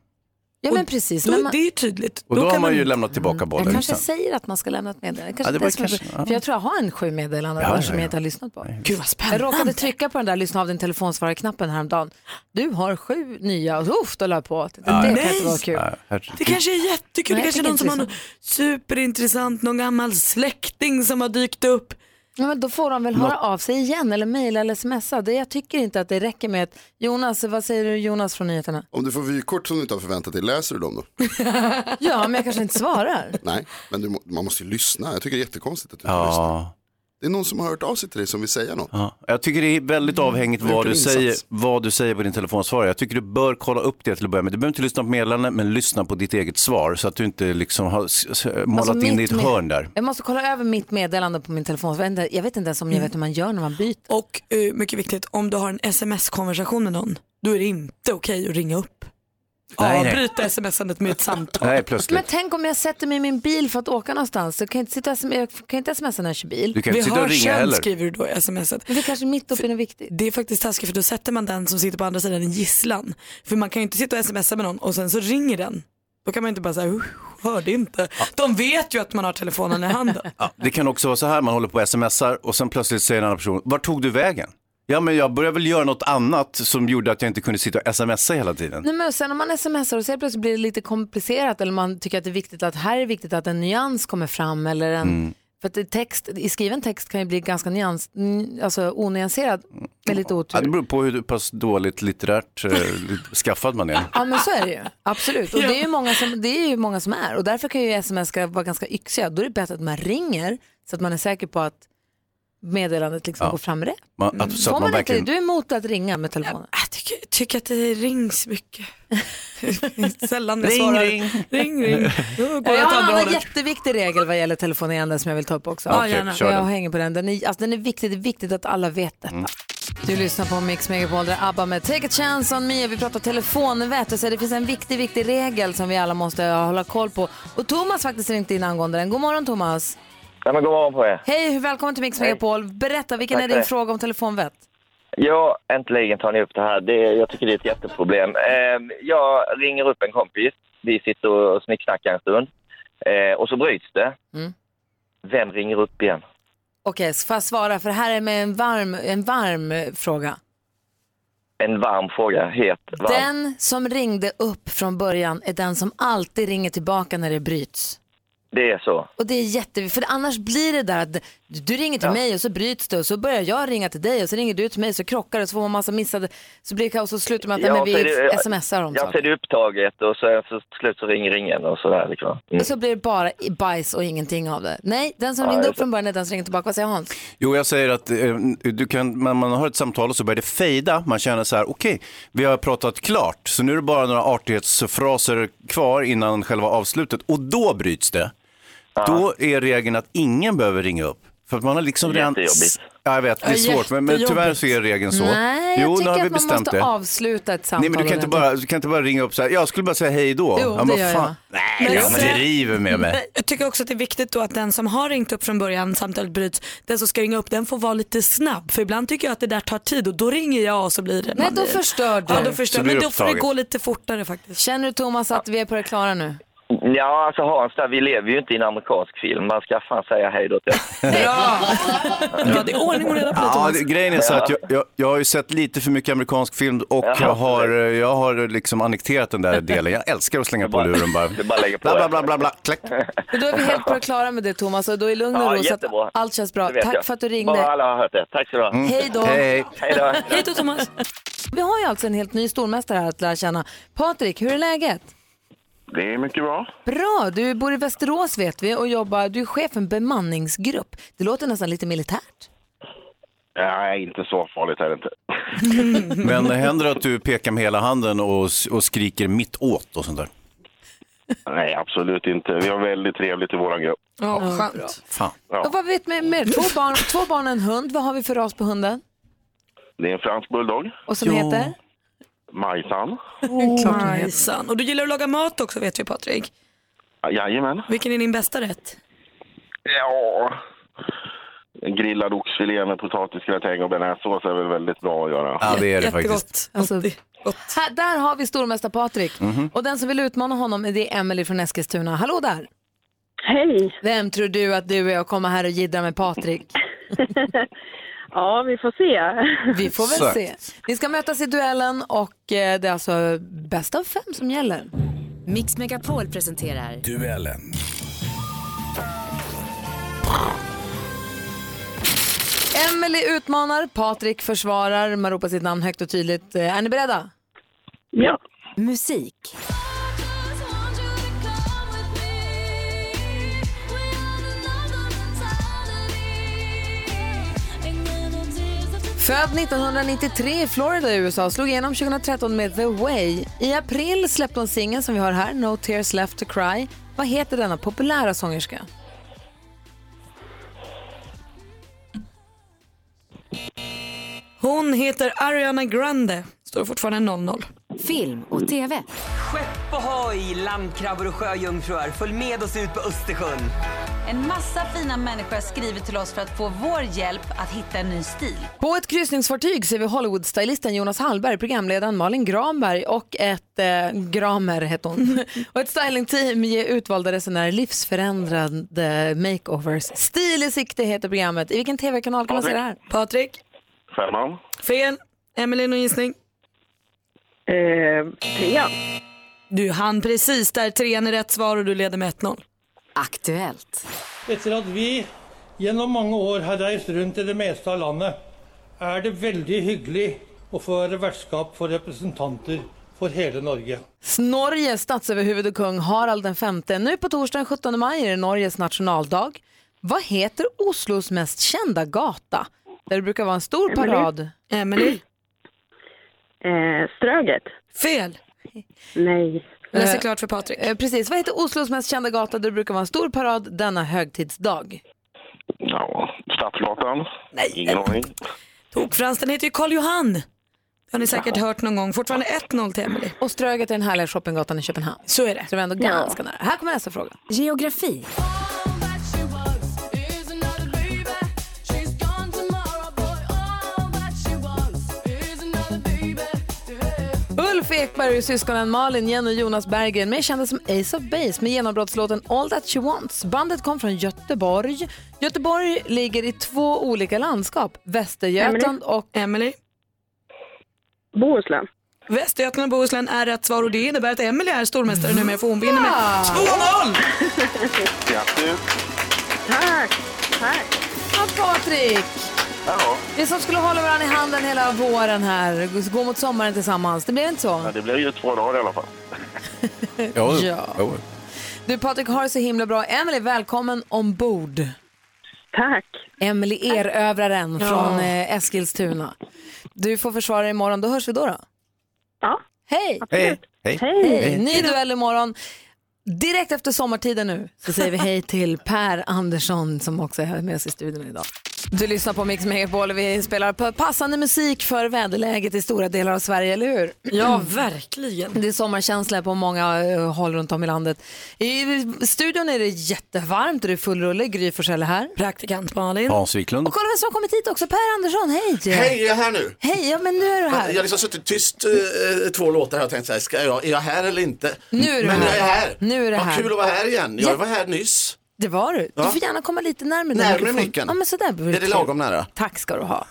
B: Ja, men precis.
D: Då,
B: men man-
D: Det är ju tydligt.
C: Och då, har
D: kan
C: man ju lämnat tillbaka
B: Mm. Jag
C: bollen.
B: kanske
C: sen.
B: säger att man ska lämna ett meddelande. Kanske
C: Ja, det
B: det
C: var
B: som är-
C: kanske- ja.
B: För jag tror jag har en sju meddelanden
C: Ja,
B: där
C: ja,
B: som
C: ja.
B: jag inte har lyssnat på.
D: Gud vad
B: Jag råkade trycka på den där lyssna av din telefonsvararknappen häromdagen. Du har sju nya och uff, då la jag på. Det,
C: Ja,
B: det
C: ja.
B: kan inte vara kul.
C: Ja, herregud.
D: Det kanske är jättekul.
B: Nej,
D: Det kanske är
B: jag
D: någon som
B: tycker
D: har
B: inte
D: något superintressant, någon gammal släkting som har dykt upp.
B: Ja, men då får de väl
D: Nå-
B: höra av sig igen eller mejla eller smsa. Det, jag tycker inte att det räcker med att Jonas, vad säger du Jonas från *laughs* nyheterna?
I: Om du får vykort som du inte har förväntat dig, läser du dem
D: *laughs*
I: då?
B: Ja, men jag kanske inte svarar.
I: Nej, men du, må- man måste ju lyssna. Jag tycker det är jättekonstigt att du inte lyssnar.
C: Ja.
I: Det är någon som har hört av sig till dig som vill säga något.
C: Ja, jag tycker det är väldigt avhängigt
I: Vilken
C: vad du,
I: insats.
C: säger, vad du säger på din telefonsvarare. Jag tycker du bör kolla upp det till att börja med. Du behöver inte lyssna på meddelandet, men lyssna på ditt eget svar så att du inte liksom har s- s- målat
B: Alltså,
C: in
B: mitt
C: ditt
B: med-
C: hörn där.
B: Jag måste kolla över mitt meddelande på min telefon. Jag vet inte- Jag vet inte ens om jag vet hur man gör när man byter.
D: Mm. Och eh, mycket viktigt, om du har en sms-konversation med någon, då är det inte okej att ringa upp.
C: Nej, nej.
D: Avbryta
B: *laughs*
D: smsandet med ett samtal.
C: Nej,
B: Alltså, Men
C: plötsligt.
B: tänk om jag sätter mig i min bil för att åka någonstans. Så kan jag inte, sitta, och sm- jag kan inte smsa när jag kör bil.
C: Du kan inte Vi sitta och hörs ringa sen, heller.
D: skriver du då i smset.
B: Men det är kanske mitt uppe i något viktigt.
D: Det är faktiskt taskigt för då sätter man den som sitter på andra sidan i gisslan. För man kan ju inte sitta och smsa med någon och sen så ringer den. Då kan man inte bara säga, "Uh, hörde inte. De vet ju att man har telefonen i handen.
C: *laughs* Ja, det kan också vara så här, man håller på och smsar och sen plötsligt säger en annan person, var tog du vägen? Ja, men jag började väl göra något annat som gjorde att jag inte kunde sitta och smsa hela tiden.
B: Nej, men sen om man smsar och så plötsligt blir det lite komplicerat eller man tycker att det är viktigt att här är det viktigt att en nyans kommer fram eller en
C: Mm.
B: För att det är text, i skriven text kan ju bli ganska nyans, n- alltså onyanserad med lite
C: Ja, det
B: otur.
C: beror på hur pass dåligt litterärt eh, lit- skaffad man är.
B: Ja men så är det ju, absolut. Och det är ju många som, det är, ju många som är. Och därför kan ju sms vara ganska yxiga. Då är det bättre att man ringer så att man är säker på att meddelandet liksom
C: Ja.
B: går fram rätt.
C: Man, att, så
B: Får
C: att man
B: man
C: verkligen...
B: inte, du är emot att ringa med telefonen?
D: Jag tycker, tycker att det
B: *laughs*
D: rings mycket. *laughs* Sällan jag
B: Ring,
D: svarar.
B: ring.
D: ring, ring. Då går
B: jag
D: jag åt
B: har en
D: andra
B: annan
D: hållet.
B: jätteviktig regel vad gäller telefonerande som jag vill ta upp också.
D: Ja, Okej, gärna. kör
B: jag
D: den. Mm.
B: hänger på den. Den är, alltså, den är viktig. Det är viktigt att alla vet detta. Du lyssnar på Mix Megapol där ABBA med Take a chance on me. Vi pratar telefonvett och så det finns en viktig, viktig regel som vi alla måste eh, hålla koll på. Och Thomas faktiskt ringt in angående den. God morgon Thomas.
N: Ja, men god morgon på er.
B: Hej, välkommen till Mix
N: Hej.
B: Megapol. Berätta, vilken
N: Tack
B: är
N: för
B: din
N: det.
B: fråga om telefonvett?
N: Ja, äntligen tar ni upp det här. Det, jag tycker det är ett jätteproblem. Ehm, jag ringer upp en kompis. Vi sitter och snicksnackar en stund. Eh, och så bryts det.
B: Mm.
N: Vem ringer upp igen?
B: Okej, så får jag svara? För det här är med en varm, en varm eh, fråga.
N: En varm fråga. Het, varm.
B: Den som ringde upp från början är den som alltid ringer tillbaka när det bryts.
N: Det är så.
B: Och det är jätteviktigt, för annars blir det där att du ringer till mig och så bryts det och så börjar jag ringa till dig och så ringer du till mig och så krockar det och så får man massa missade, så blir det kaos och slutar med att
N: Ja,
B: nej, men
N: så är
B: vi
N: det-
B: smsar om
N: Jag ser
B: saker.
N: det upptaget och så, så till slut så ringer ingen och sådär. Liksom. Mm.
B: Och så blir det bara i- bajs och ingenting av det. Nej, den som
C: Ja,
B: ringde
C: jag
B: upp från början är den som ringer tillbaka. Vad säger Hans?
C: Jo, jag säger att eh, du kan, man, man har ett samtal och så börjar det fejda. Man känner så här, okej, vi har pratat klart, så nu är det bara några artighetsfraser kvar innan själva avslutet och då bryts det. Då är regeln att ingen behöver ringa upp. För att man har liksom redan...
N: Jättejobbigt.
C: Ja, jag vet, det är
B: Ja,
C: svårt, men, men tyvärr så är regeln så.
B: Nej, jag
C: jo, nu
B: tycker
C: har vi
B: att man
C: bestämt
B: måste
C: det.
B: avsluta ett samtal.
C: Nej, men du kan, inte
B: ordentligt.
C: bara, du kan inte bara ringa upp så här, jag skulle bara säga hej då.
D: Jo,
C: men
D: det gör
C: fan.
D: Men
C: Nej,
D: så-
C: men det river med mig.
D: *laughs* Jag tycker också att det är viktigt då att den som har ringt upp från början, samtalet bryts, den som ska ringa upp den får vara lite snabb. För ibland tycker jag att det där tar tid och då ringer jag och så blir det.
B: Nej,
D: man
B: då
D: blir-
B: förstör du.
D: Ja, då
N: Mm.
D: förstör.
N: Så blir
D: Men
N: det
D: då får det
N: upptaget.
D: gå lite fortare faktiskt.
B: Känner du Thomas att vi är på det klara nu?
N: Ja, alltså Hans, där, vi lever ju inte i en amerikansk film. Man ska fan säga hej då till
D: Ja, det är ordning och reda
C: *laughs*
D: på det,
C: Ja,
D: Thomas.
C: det, grejen är så att jag, jag, jag har ju sett lite för mycket amerikansk film och jag har, jag har liksom annekterat den där delen. Jag älskar att slänga på luren bara. Du
N: bara lägger på.
C: Bla, bla, bla, bla, bla. Klack.
B: Men då är vi helt på det klara med det Thomas och då i lugn och
N: Ja,
B: ro så att
N: jättebra.
B: allt känns bra.
N: Det vet
B: Tack
N: jag.
B: för att du ringde.
N: Bara alla har hört det. Tack så du ha.
B: Mm. Hej då.
N: Hej. då.
B: Hej då Thomas. Vi har ju alltså en helt ny stormästare här att lära känna. Patrik, hur är läget?
O: Det är mycket bra.
B: Bra, du bor i Västerås vet vi och jobbar, du är chef för en bemanningsgrupp. Det låter nästan lite militärt.
O: Nej, inte så farligt är det inte.
C: Men händer det att du pekar med hela handen och, s- och skriker mitt åt och sånt där?
O: Nej, absolut inte. Vi har väldigt trevligt i våran grupp.
B: Ja,
C: Fan.
B: Och vad vet vi mer? Två barn, två barn och en hund. Vad har vi för ras på hunden?
O: Det är en fransk bulldog.
B: Och som heter?
O: Majsan.
D: Majsan. Och du gillar att laga mat också vet vi Patrik.
O: Jajamän.
D: Vilken är din bästa rätt?
O: Ja. En grillad oxfilé med potatisgratäng och bearnaisesås är väl väldigt bra att göra.
C: Ja, det är det
B: Alltså, här, där har vi stormästare Patrik.
O: Mhm.
B: Och den som vill utmana honom det är Emily från Eskilstuna. Hallå där!
J: Hej!
B: Vem tror du att du är och kommer här och jiddrar med Patrik?
J: *laughs* Ja, vi får se.
B: Vi får väl se. Ni ska mötas i duellen och eh, det är alltså bäst av fem som gäller.
P: Mix Megapol presenterar
G: Duellen.
B: Emily utmanar, Patrik försvarar, man ropar sitt namn högt och tydligt. Eh, Är ni beredda?
J: Ja.
P: Musik.
B: Född 1993 i Florida i USA, slog igenom 2013 med The Way. I april släppte hon singeln som vi har här, No Tears Left To Cry. Vad heter denna populära sångerska?
D: Hon heter Ariana Grande. Står det fortfarande 00.
P: Film och TV.
Q: Skepp ohoj, landkrabbor och sjöjungfrur. Följ med oss ut på Östersjön.
R: En massa fina människor har skrivit till oss för att få vår hjälp att hitta en ny stil.
B: På ett kryssningsfartyg ser vi Hollywood-stylisten Jonas Hallberg, programledaren Malin Granberg och ett, eh, Gramer heter hon, och ett stylingteam ger utvalda resenärer livsförändrande makeovers. Stil i sikte heter programmet. I vilken tv-kanal kan man se det här?
D: Patrik?
O: Femman.
D: Fel. Emelie, någon gissning?
J: trean.
D: Du hann precis där. Trean är rätt svar och du leder med 1-0.
P: Aktuellt.
S: Etter at vi gjennom mange år har reist rundt i det meste av landet, er det veldig hyggelig å få være vertskap for representanter for hele Norge.
B: Norges statsöverhuvud och kung Harald V. Nu på torsdagen 17 maj är det Norges nationaldag. Vad heter Oslos mest kända gata? Där det brukar vara en stor parad.
D: Emily.
J: Eh, Ströget.
D: Fel.
J: Nej.
D: Läser klart för Patrik.
B: Eh, precis. Vad heter Oslos mest kända gata där det brukar vara en stor parad denna högtidsdag?
O: Ja, Stadsgatan. Nej. Ingen aning.
D: Tokfrans, den heter ju Karl Johan. Det har ni säkert hört någon gång. Fortfarande 1-0 till Emily.
B: Och Ströget är den härliga shoppinggatan i Köpenhamn.
D: Så är det.
B: Så vi är ändå
D: Ja.
B: ganska nära. Här kommer nästa fråga.
P: Geografi.
B: Ulf Ekberg och syskonen Malin, Jenny och Jonas Berggren mer kända som Ace of Base med genombrottslåten All That She Wants. Bandet kom från Göteborg. Göteborg ligger i två olika landskap, Västergötland och...
D: Emily.
J: Bohuslän.
D: Västergötland och Bohuslän är rätt svar och det innebär att Emily är stormästare numera för hon vinner med
B: Ja!
D: 2-0!
O: Grattis.
B: Tack! Tack! Ja, Patrik!
O: Ja.
B: Vi som skulle hålla varandra i handen hela våren här, gå mot sommaren tillsammans. Det blev inte så?
O: ja, det blev ju två dagar i alla fall.
B: *laughs* Ja. Du Patrik, har det så himla bra. Emily, välkommen ombord. Tack. Emily erövraren
A: Ja.
B: från eh, Eskilstuna. Du får försvara dig imorgon, då hörs vi då. då. Ja. Hej!
E: Hej.
C: Hej.
B: Hej. Ny duell imorgon. Direkt efter sommartiden nu så säger vi hej till Per Andersson som också är här med oss i studion idag. Du lyssnar på Mix Megapol och vi spelar på passande musik för väderläget i stora delar av Sverige, eller hur?
D: Ja, verkligen.
B: Det är sommarkänsla på många eh, håll runt om i landet. I studion är det jättevarmt och det är full rulle. Gry Forssell är här.
D: Praktikant Malin.
C: Hans Wiklund.
B: Och kolla vem som har kommit hit också, Per Andersson. Hej!
T: Hej, är jag här nu?
B: Hej, ja men nu är du
T: Jag
B: här.
T: har liksom suttit tyst eh, två låtar och tänkt så här, ska jag, är jag här eller inte?
B: Nu är du
T: Men
B: här.
T: jag är här.
B: Nu är du
T: Vad
B: här.
T: kul att vara här igen. Jag
B: Ja.
T: var här nyss.
B: Det var du. Du
T: Ja.
B: får gärna komma lite närmare
T: Närmare
B: mikrofonen.
T: micken.
B: Ja men sådär. blir
T: Är det
B: kul.
T: lagom nära?
B: Tack ska du ha.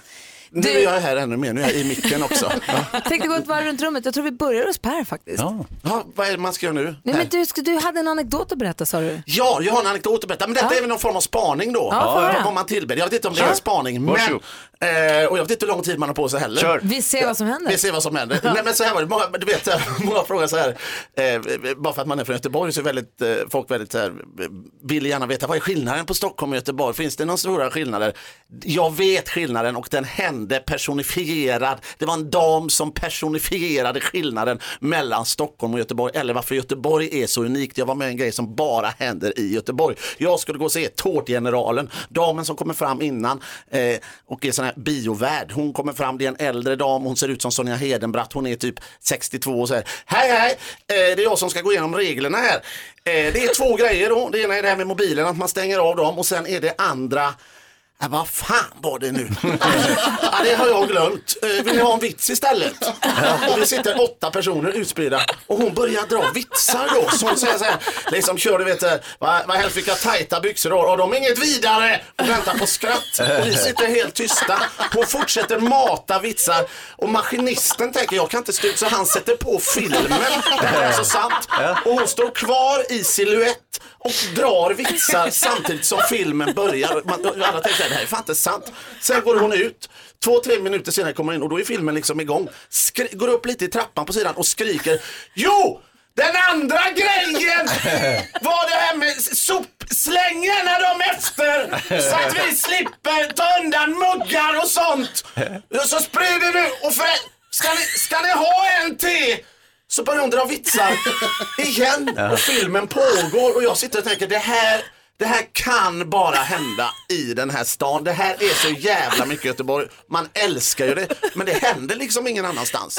T: Nu är jag här ännu mer, nu är jag i
B: *laughs*
T: micken också. Ja,
B: Tänkte gå ett varv runt rummet. Jag tror vi börjar hos Per faktiskt.
T: ja. vad är det man ska göra nu?
B: Nej,
T: Här.
B: men du, ska- du hade en anekdot att berätta sa du.
T: Ja, jag har en anekdot att berätta. Men detta
B: Ja.
T: är väl någon form av spaning då?
B: Ja, får höra.
T: Vad man tillber. Jag vet inte om det
B: Kör.
T: är en spaning, men...
B: Varsågod.
T: Eh, och jag vet inte hur lång tid man har på sig heller.
B: Kör. Vi ser vad som händer.
T: Vi ser vad som händer. Nej, men så här var det. Många, du vet, *laughs* många frågar så här, eh, bara för att man är från Göteborg så är väldigt, eh, folk väldigt så här, vill gärna veta vad är skillnaden på Stockholm och Göteborg? Finns det några stora skillnader? Jag vet skillnaden och den hände personifierad. Det var en dam som personifierade skillnaden mellan Stockholm och Göteborg eller varför Göteborg är så unikt. Jag var med i en grej som bara händer i Göteborg. Jag skulle gå och se Tårtgeneralen, damen som kommer fram innan eh, och är sån här biovärd. Hon kommer fram, det är en äldre dam, hon ser ut som Sonja Hedenbratt, hon är typ 62 och säger Hej hej, eh, det är jag som ska gå igenom reglerna här. Eh, det är två grejer då, det ena är det här med mobilen, att man stänger av dem och sen är det andra Ja, Äh, vad fan var det nu? *laughs* ja, det har jag glömt. Eh, Vill ni ha en vits istället? Och det sitter åtta personer utspridda och hon börjar dra vitsar då. Så hon säger så här, liksom kör du vet, eh, vad, vad helst vilka tajta byxor du har och de är inget vidare och väntar på skratt. Och vi sitter helt tysta. Hon fortsätter mata vitsar och maskinisten tänker jag kan inte stå ut så han sätter på filmen. Det här är så sant. Och hon står kvar i siluett och drar vitsar samtidigt som filmen börjar. Man, och alla tänker att det här är fan inte sant. Sen går hon ut, två, tre minuter senare kommer hon in och då är filmen liksom igång. Skri- går upp lite i trappan på sidan och skriker Jo! Den andra grejen var det här med sopslängen när de är efter så att vi slipper ta undan muggar och sånt. Och så sprider du och för, ska, ni, ska ni ha en till? Så börjar hon dra vitsar igen
E: Ja.
T: och filmen pågår och jag sitter och tänker det här, det här kan bara hända i den här stan. Det här är så jävla mycket Göteborg. Man älskar ju det men det händer liksom ingen annanstans.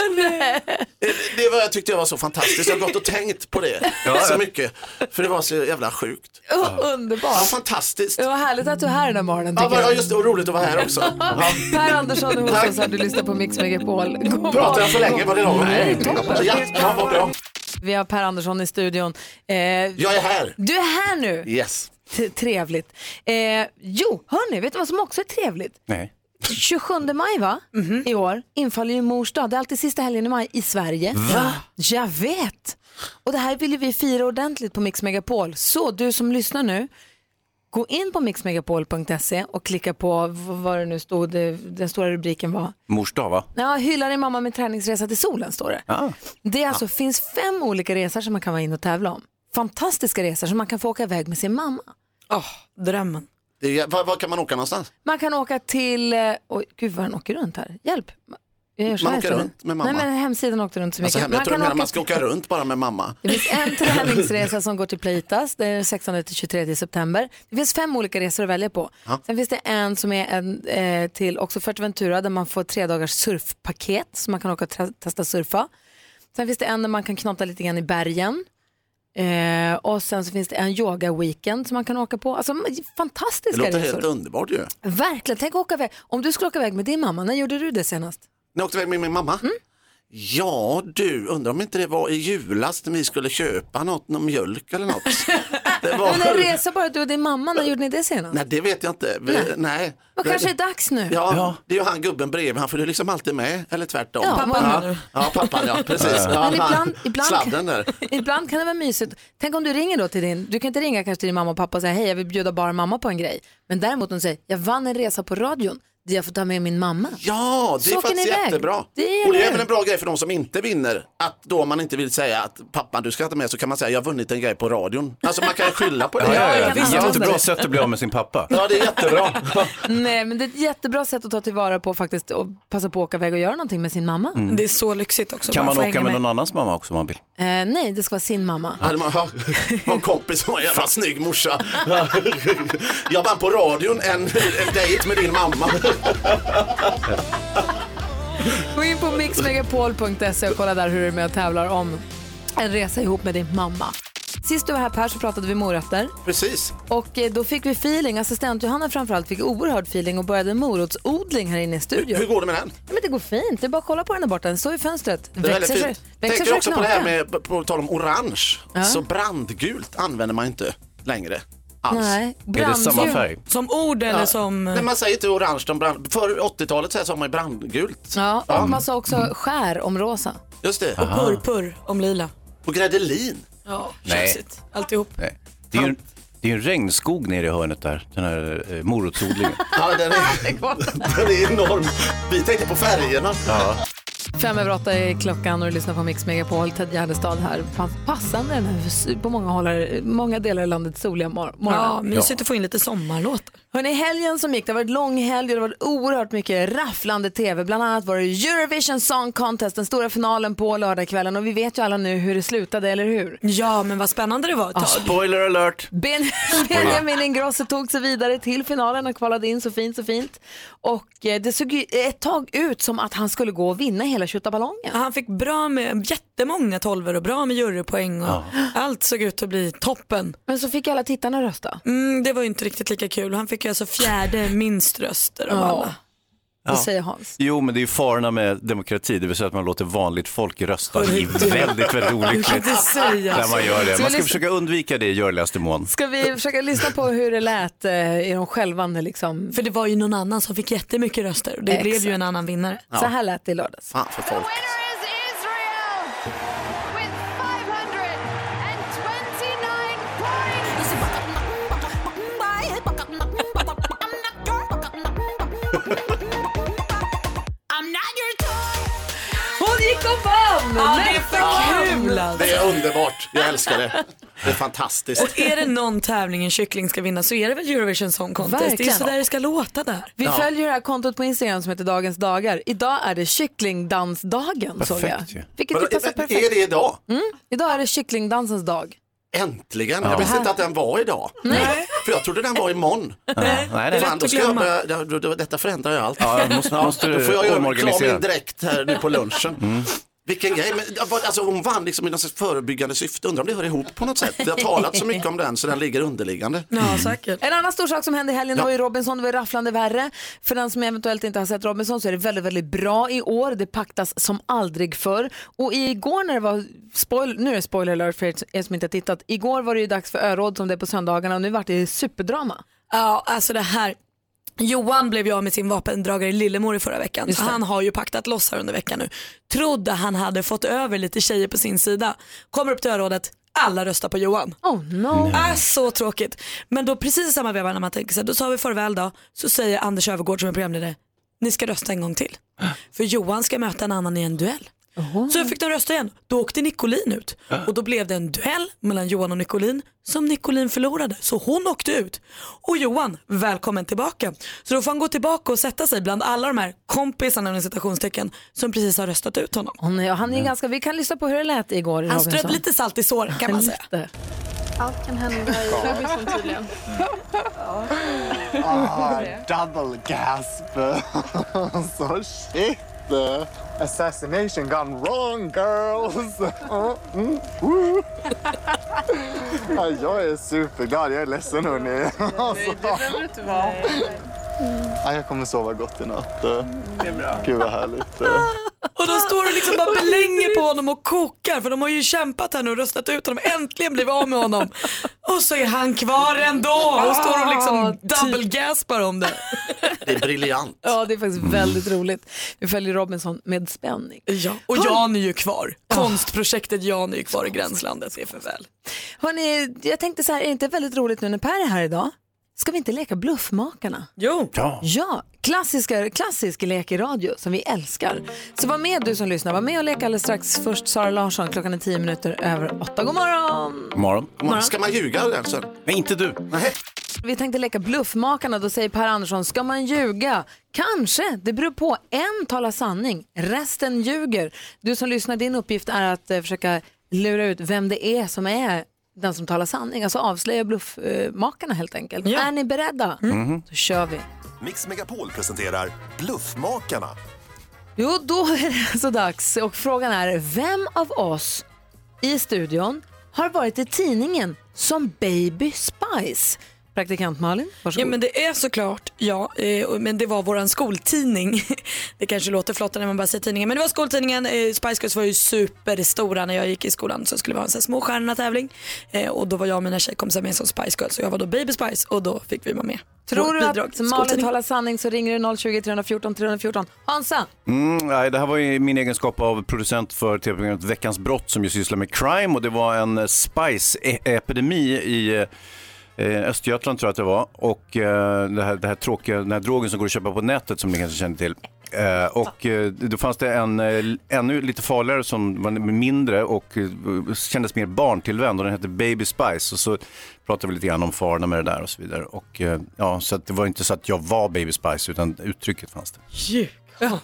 T: Det var, jag tyckte jag var så fantastiskt. Jag har gått och tänkt på det
B: Ja, ja.
T: så mycket. För det var så jävla sjukt.
B: Oh, *laughs* underbart.
T: Ja, fantastiskt.
B: Det var härligt att du är här den här morgonen.
T: Ja,
B: tycker
T: ja,
B: jag.
T: just det, och roligt att vara här också. Ja.
B: *laughs* Per Andersson är hos oss här, du lyssnar på Mix Megapol. God
T: Pratar jag för länge? Var det lagom?
B: Nej, toppen.
T: Ja, ja, vad bra.
B: Vi har Per Andersson i studion. Eh,
T: Jag är här.
B: Du är här nu.
T: Yes.
B: T- Trevligt. Eh, jo, hörni, vet du vad som också är trevligt?
C: Nej.
B: 27 maj va?
T: Mhm.
B: i år infaller ju mors dag. Det är alltid sista helgen i maj i Sverige.
E: Va?
B: Jag vet. Och det här vill ju vi fira ordentligt på Mix Megapol. Så du som lyssnar nu, gå in på mixmegapol.se och klicka på v- vad det nu stod, det- den stora rubriken var.
C: Mors dag, va?
B: Ja, hylla din mamma med träningsresa till solen står det.
C: Ja.
B: Det är alltså, finns fem olika resor som man kan vara in och tävla om. Fantastiska resor som man kan få åka iväg med sin mamma.
D: Åh, drömmen.
T: Det är, var, var kan man åka någonstans?
B: Man kan åka till, eh, oj gud vad han åker runt här, hjälp. Jag gör så
T: Man
B: här
T: åker
B: istället.
T: runt med mamma.
B: Nej men hemsidan åkte runt så mycket.
T: Alltså, hemma, jag tror de menar
B: man,
T: man ska åka runt bara med mamma.
B: Det finns en träningsresa som går till Plaitas, det är 16-23 september. Det finns fem olika resor att välja på.
T: Ja.
B: Sen finns det en som är en, eh, till också Fuerteventura där man får tre dagars surfpaket så man kan åka och tra- testa surfa. Sen finns det en där man kan knata lite grann i bergen. Eh, och sen så finns det en yoga-weekend som man kan åka på. Alltså
T: Det,
B: fantastiska
T: låter
B: resor.
T: helt underbart ju.
B: Verkligen, tänk att åka iväg. Om du skulle åka iväg med din mamma, när gjorde du det senast?
T: Ni åkte iväg med min mamma?
B: Mm.
T: Ja du, undrar om inte det var i julas när vi skulle köpa något, någon mjölk
B: *laughs*
T: eller något. Det var...
B: Men en resa bara du och din mamma, när gjorde ni det senast?
T: Nej, det vet jag inte. Vi, nej.
B: Vad
T: Det-
B: kanske är dags nu?
T: Ja, det är ju han gubben bredvid, han följer liksom alltid med, eller tvärtom.
B: Ja, Pappan
T: ja,
B: menar du?
T: ja pappan ja, precis.
B: Men
T: Ja,
B: ibland-
T: han-
B: ibland-
T: Sladden där.
B: *laughs* Ibland kan det vara mysigt. Tänk om du ringer då till din, du kan inte ringa kanske till din mamma och pappa och säga hej jag vill bjuda bara mamma på en grej. Men däremot hon säger jag vann en resa på radion där jag får ta med min mamma.
T: Ja, det
B: Så
T: är
B: åker ni
T: faktiskt
B: iväg.
T: jättebra.
B: Det är
T: och det
B: det.
T: är även en bra grej för de som inte vinner, att då om man inte vill säga att pappa du ska ta med så kan man säga jag har vunnit en grej på radion. Alltså man kan skylla på det.
C: Ja, ja, ja. Det är jättebra
B: använda
C: sätt att bli av med sin pappa.
T: Ja, det är jättebra.
B: *laughs* Nej men det är ett jättebra sätt att ta tillvara på faktiskt och passa på att åka iväg och göra någonting med sin mamma.
C: Mm. Det är
D: så lyxigt också.
C: Kan man åka med någon annans mamma också om man vill?
B: Eh, nej det ska vara sin mamma.
T: Hade man hört en kompis som var en jävla snygg morsa. Jag vann på radion en, en dejt med din mamma.
B: Gå in på mixmegapol.se och kolla där hur du är med och tävlar om en resa ihop med din mamma. Sist du var här Per så pratade vi morötter.
T: Precis.
B: Och eh, då fick vi feeling, assistent Johanna framförallt fick oerhörd feeling och började en morotsodling här inne i studion.
T: Hur går det med den?
B: Ja, men det går fint, det är bara att kolla på den där borta, den står i fönstret.
T: Det är väldigt
B: sig-
T: fint.
B: växer
T: Tänker
B: sig
T: också på det här
B: knaka.
T: med, på- på tal om orange,
B: Ja.
T: så brandgult använder man inte längre. Alls.
B: Nej, Är det brandgult. samma färg?
D: Som ord eller som- eh,
T: Nej, man säger inte orange om brand... För 80-talet så här sa man ju brandgult.
B: Ja, och
T: Ja.
B: man sa också skär om rosa.
T: Just det.
C: Och Aha.
D: purr om lila.
T: Och gredelin.
D: Ja,
C: Nej.
D: tjafsigt.
B: *laughs*
D: Alltihop.
C: Nej. Det är ju det är ju en regnskog nere i hörnet där, den här eh, morotsodlingen.
T: *laughs* Ja, den är, den är enorm. Vi tänkte på färgerna.
B: Fem över åtta är klockan och du lyssnar på Mix Megapol, Ted Gärdestad här. Pass- Passande den här, på många, håller, många delar i landet soliga mor- morgonen.
D: Ja, mysigt att få in lite sommarlåtar.
B: Hörrni, helgen som gick, det har varit lång helg och det har varit oerhört mycket rafflande tv. Bland annat var det Eurovision Song Contest, den stora finalen på lördagskvällen och vi vet ju alla nu hur det slutade, eller hur?
D: Ja, men vad spännande det var ett tag.
C: Spoiler alert!
B: Ben- Benjamin Ingrosso tog sig vidare till finalen och kvalade in så fint, så fint. Och eh, det såg ju ett tag ut som att han skulle gå och vinna hela tjottaballongen.
D: Han fick bra med jättemånga tolvor och bra med jurypoäng och allt såg ut att bli toppen.
B: Men så fick alla tittarna rösta.
D: Mm, det var ju inte riktigt lika kul. Han fick ju alltså fjärde minst röster av
B: Ja.
D: alla.
C: Ja.
B: säger Hans.
C: Jo, men det är ju farorna med demokrati, det vill säga att man låter vanligt folk rösta. Det är väldigt, väldigt
B: Du kan
C: olyckligt
B: inte säga
C: när
B: så.
C: man gör
B: Ska
C: det.
B: vi
C: Man ska
B: lyssna-
C: försöka undvika det i görligaste mån.
B: Ska vi försöka lyssna på hur det lät eh, i de självande liksom?
D: För det var ju någon annan som fick jättemycket röster och det blev ju en annan vinnare.
B: Så här lät det i lördags.
T: Fan för folk.
B: Hon gick och vann!
D: Ja, det är för kul alltså.
T: Det är underbart. Jag älskar det. Det är fantastiskt.
D: Och är det någon tävling en kyckling ska vinna så är det väl Eurovision Song Contest. Det är
B: Verkligen.
D: ju sådär det ska låta där.
B: Vi följer det här kontot på Instagram som heter Dagens dagar. Idag är det kycklingdansdagen såg jag.
T: Perfekt ju.
B: Vilket
T: Men
B: ju passar
T: är- är
B: perfekt.
T: det idag?
B: Mm. Idag är det kycklingdansens dag.
T: Äntligen!
B: Ja.
T: Jag visste
B: Det här-
T: inte att den var idag. För jag trodde den var imorgon.
C: Nej, nej, det är
T: Fan,
C: lätt
T: då
C: att
T: ska jag
C: glömma.
T: börja, då- då- då- detta förändrar ju allt.
C: Ja, måste- måste
T: *laughs* då får jag göra mig klar
C: omorganisera. Mm.
T: min dräkt här nu på lunchen. Vilken grej, men jag var- alltså, hon vann liksom i något slags förebyggande syfte, undrar om det hör ihop på något sätt. Det har talat så mycket om den så den ligger underliggande.
D: Ja, säkert.
B: En annan stor sak som hände i helgen det
T: Ja.
B: var ju Robinson, det var ju rafflande värre. För den som eventuellt inte har sett Robinson så är det väldigt, väldigt bra i år. Det paktas som aldrig förr. Och igår när det var, spoil, nu är det spoiler alert för er som inte har tittat, igår var det ju dags för öråd som det är på söndagarna och nu vart det superdrama.
D: Ja, alltså det här. Johan blev ju av med sin vapendragare Lillemor i förra veckan.
B: Just
D: Så
B: det.
D: han har ju paktat loss här under veckan nu. Trodde han hade fått över lite tjejer på sin sida. Kommer upp till örådet, alla röstar på Johan.
B: Oh no.
D: Ah, så tråkigt. Men då precis i samma veva när man tänker sig, då sa vi farväl då, så säger
B: Ah.
D: Anders Övergård som är programledare, ni ska rösta en gång till. För Johan ska möta en annan i en duell. Så fick de rösta igen. Då åkte Nicolin ut och då blev det en duell mellan Johan och Nicolin som Nicolin förlorade. Så hon åkte ut. Och Johan, välkommen tillbaka. Så då får han gå tillbaka och sätta sig bland alla de här kompisarna inom citationstecken som precis har röstat ut honom.
B: Åh nej, och han är ganska, vi kan lyssna på hur det lät igår i
D: Han
B: Robinson.
D: strödde lite salt i såren kan
B: *laughs*
D: man säga.
B: Lite.
U: Allt kan hända i Robinson tydligen.
V: Ah, double gasp. *laughs* so shit. Assassination gone wrong, girls. *laughs* Mm, mm, woo. *laughs* ja, jag är superglad. Jag är ledsen, hörni. *laughs*
U: Nej, det behöver du inte vara.
V: Ja, jag kommer sova gott i natt. Det
U: är bra.
V: Gud, vad härligt.
D: Och de står och liksom bara belänger på honom och kokar för de har ju kämpat här nu och röstat ut honom, äntligen blivit av med honom. Och så är han kvar ändå och står och liksom double-gaspar om det.
T: Det är briljant.
B: Ja, det är faktiskt väldigt roligt. Vi följer Robinson med spänning.
D: Ja, och Jan är ju kvar. Konstprojektet Jan är ju kvar i gränslandet, det är för väl.
B: Hörrni, jag tänkte så här, är det inte väldigt roligt nu när Per är här idag? Ska vi inte leka Bluffmakarna?
D: Jo.
B: Ja. klassiska, klassisk lek i radio som vi älskar. Så var med du som lyssnar, var med och lek alldeles strax. Först Sara Larsson, klockan är tio minuter över åtta. God morgon!
C: Morgon.
B: Morgon.
T: Ska man ljuga alltså?
C: Nej, inte du.
B: Vi tänkte leka Bluffmakarna, då säger Per Andersson, ska man ljuga? Kanske, det beror på. En talar sanning, resten ljuger. Du som lyssnar, din uppgift är att eh, försöka lura ut vem det är som är den som talar sanning, alltså avslöja bluffmakarna helt enkelt. Är ni beredda? Då kör vi.
L: Mix Megapol presenterar Bluffmakarna.
B: Jo, då är det *laughs* alltså dags och frågan är vem av oss i studion har varit i tidningen som Baby Spice? Praktikant Malin,
D: Ja
B: varsågod.
D: men det är såklart ja, eh, och- men det var våran skoltidning. *laughs* Det kanske låter flottare när man bara säger tidningen men det var skoltidningen. Eh, Spice Girls var ju superstora när jag gick i skolan så skulle vi ha en sån här småstjärnorna-tävling Eh, och då var jag och mina tjejkompisar med som Spice Girls och jag var då Baby Spice och då fick vi vara med.
B: Tror
D: Vårt
B: du
D: bidrag
B: att
D: till
B: Malin
D: skoltidningen.
B: talar sanning så ringer du 020 314 314. Hansa,
C: Mm, nej, det här var i min egenskap av producent för tv-programmet Veckans brott som ju sysslar med crime och det var en eh, spice-epidemi i eh, Östergötland tror jag att det var och eh, det här, det här tråkiga, den här drogen som går att köpa på nätet som ni kanske känner till. Eh, och eh, då fanns det en eh, ännu lite farligare som var mindre och eh, kändes mer barntillvänd och den hette Baby Spice och så pratade vi lite grann om farorna med det där och så vidare. Och, eh, ja, så att det var inte så att jag var Baby Spice utan uttrycket fanns det.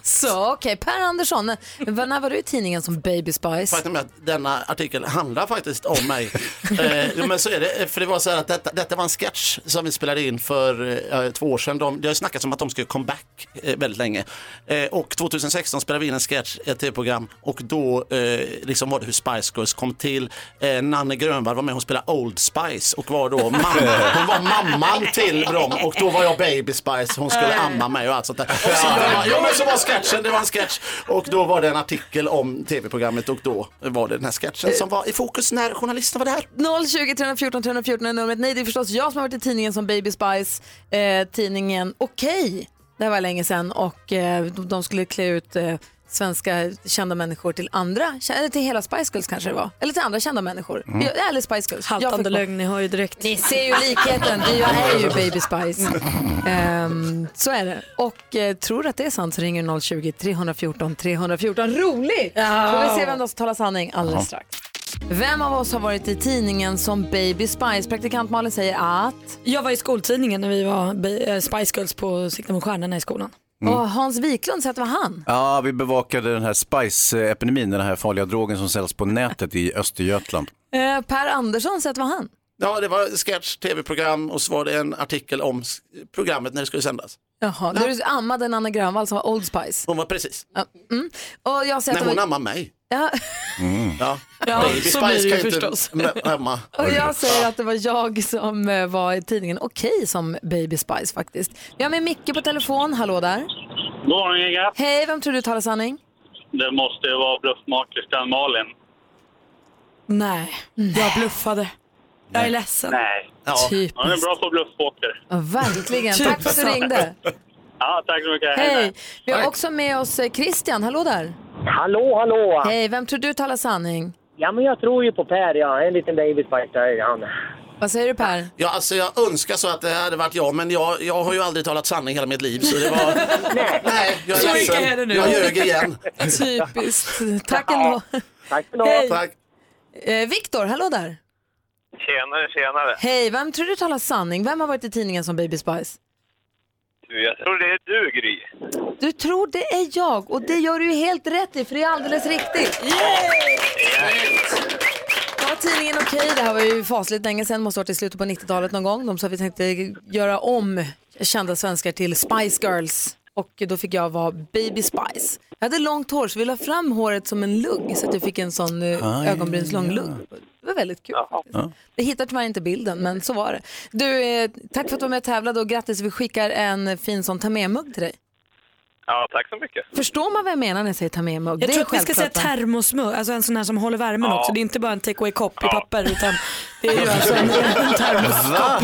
B: Så okej, Per Andersson, v- när var du i tidningen som Baby Spice?
T: Faktum är att denna artikel handlar faktiskt om mig. eh, jo, men så är det, för det var så här att detta, detta var en sketch som vi spelade in för eh, två år sedan. De, det har ju snackats om att de skulle come back eh, väldigt länge. Eh, och 2016 spelade vi in en sketch, ett tv-program och då eh, liksom var det hur Spice Girls kom till. Eh, Nanne Grönvall var med, hon spelade Old Spice och var då mamma, hon var mamman till dem och då var jag Baby Spice, hon skulle amma mig och allt sånt där. Och så, var- ja, men så var sketchen, det var en sketch och då var det en artikel om tv-programmet och då var det den här sketchen som var i fokus när journalisten var där.
B: 020 314 314 är numret. Nej, det är förstås jag som har varit i tidningen som Baby Spice. Eh, tidningen Okej, det här var länge sedan och eh, de- de skulle klä ut eh, svenska kända människor till andra, kä- eller till hela Spice Girls kanske det var, eller till andra kända människor.
D: Mm.
B: Jag, eller Spice Girls. Jag
D: Haltande
B: fick på-
D: lögn, ni har ju direkt.
B: Ni ser ju likheten, det är ju-
A: *laughs*
B: jag är ju Baby Spice. Ehm, så är det. Och eh, tror du att det är sant så ringer 020-314 314. Roligt!
A: Ja.
B: Får vi se vem då som talar sanning alldeles
A: Ja.
B: strax. Vem av oss har varit i tidningen som Baby Spice? Praktikant Malin säger att...
D: Jag var i skoltidningen när vi var Ba- eh, Spice Girls på Sikta mot stjärnorna i skolan.
C: Mm.
B: Och Hans Wiklund säger att det var han.
C: Ja, vi bevakade den här spice-epidemin, den här farliga drogen som säljs på nätet i Östergötland.
B: Eh, per Andersson säger att det var han.
T: Ja, det var sketch, tv-program och så var det en artikel om s- programmet när det skulle sändas.
B: Jaha, du ammade en Anna Grönvall som var Old Spice.
T: Hon var precis.
B: Ja, mm. Och jag säger
T: När
B: att det
T: hon
B: var...
T: ammade mig. *laughs*
B: Ja,
T: Ja.
B: Ja,
T: Baby
B: så
T: Spice
B: blir det ju
T: kan ju
B: förstås.
T: inte mamma.
B: Och jag säger att det var jag som eh, var i tidningen Okej som Baby Spice faktiskt. Vi har med Micke på telefon, hallå där.
W: God morgon gänget.
B: Hej, vem tror du talar sanning?
W: Det måste ju vara bluffmakerskan Malin.
D: Nej, jag bluffade. Jag är ledsen.
W: Nej. Ja.
B: Typiskt.
W: Hon är bra på bluffpoker.
B: Ja, verkligen, Typ.
D: Typ.
B: tack för att du ringde.
W: *laughs* Ja, tack så mycket.
B: Hej, vi har också med oss eh, Christian, hallå där.
X: Hallå, hallå!
B: Hej, vem tror du talar sanning?
X: Ja, men jag tror ju på Per, ja. En liten baby spice där, han.
B: Vad säger du Per?
T: Ja, alltså jag önskar så att det hade varit jag, men jag, jag har ju aldrig talat sanning hela mitt liv. Så det var...
B: *laughs*
T: Nej, jag
B: Så
T: är
B: gick jag
T: ledsen.
B: här nu.
T: Jag
B: *laughs*
T: ljög igen. *laughs*
B: Typiskt. Tack ändå.
T: Tack
B: Hej.
T: Tack.
B: Eh, Viktor, hallå där.
F: Tjenare, tjenare.
B: Hej, vem tror du talar sanning? Vem har varit i tidningen som Baby Spice?
F: Du, jag tror det är du, Gry.
B: Du tror det är jag och det gör du ju helt rätt i för det är alldeles riktigt. Ja, tidningen Okej, det här var ju fasligt länge sedan, måste ha varit i slutet på 90-talet någon gång. De sa att vi tänkte göra om kända svenskar till Spice Girls och då fick jag vara Baby Spice. Jag hade långt hår så vi la fram håret som en lugg så att jag fick en sån
H: Aj,
B: eh, ögonbrynslång
H: ja.
B: lugg. Det var väldigt kul. faktiskt. Vi hittar tyvärr inte bilden, men så var det. Du, eh, tack för att du var med och tävlade och grattis, vi skickar en fin sån ta med-mugg till dig.
F: Ja, tack så mycket.
B: Förstår man vad jag menar när jag säger ta med mugg?
D: Jag
B: Det
D: tror
B: är
D: att vi ska säga
B: självklart, va?
D: termosmugg, alltså en sån här som håller värmen
B: Ja.
D: också. Det är inte bara en take away-kopp i papper utan det är ju alltså en, en
C: *laughs*
D: termoskopp.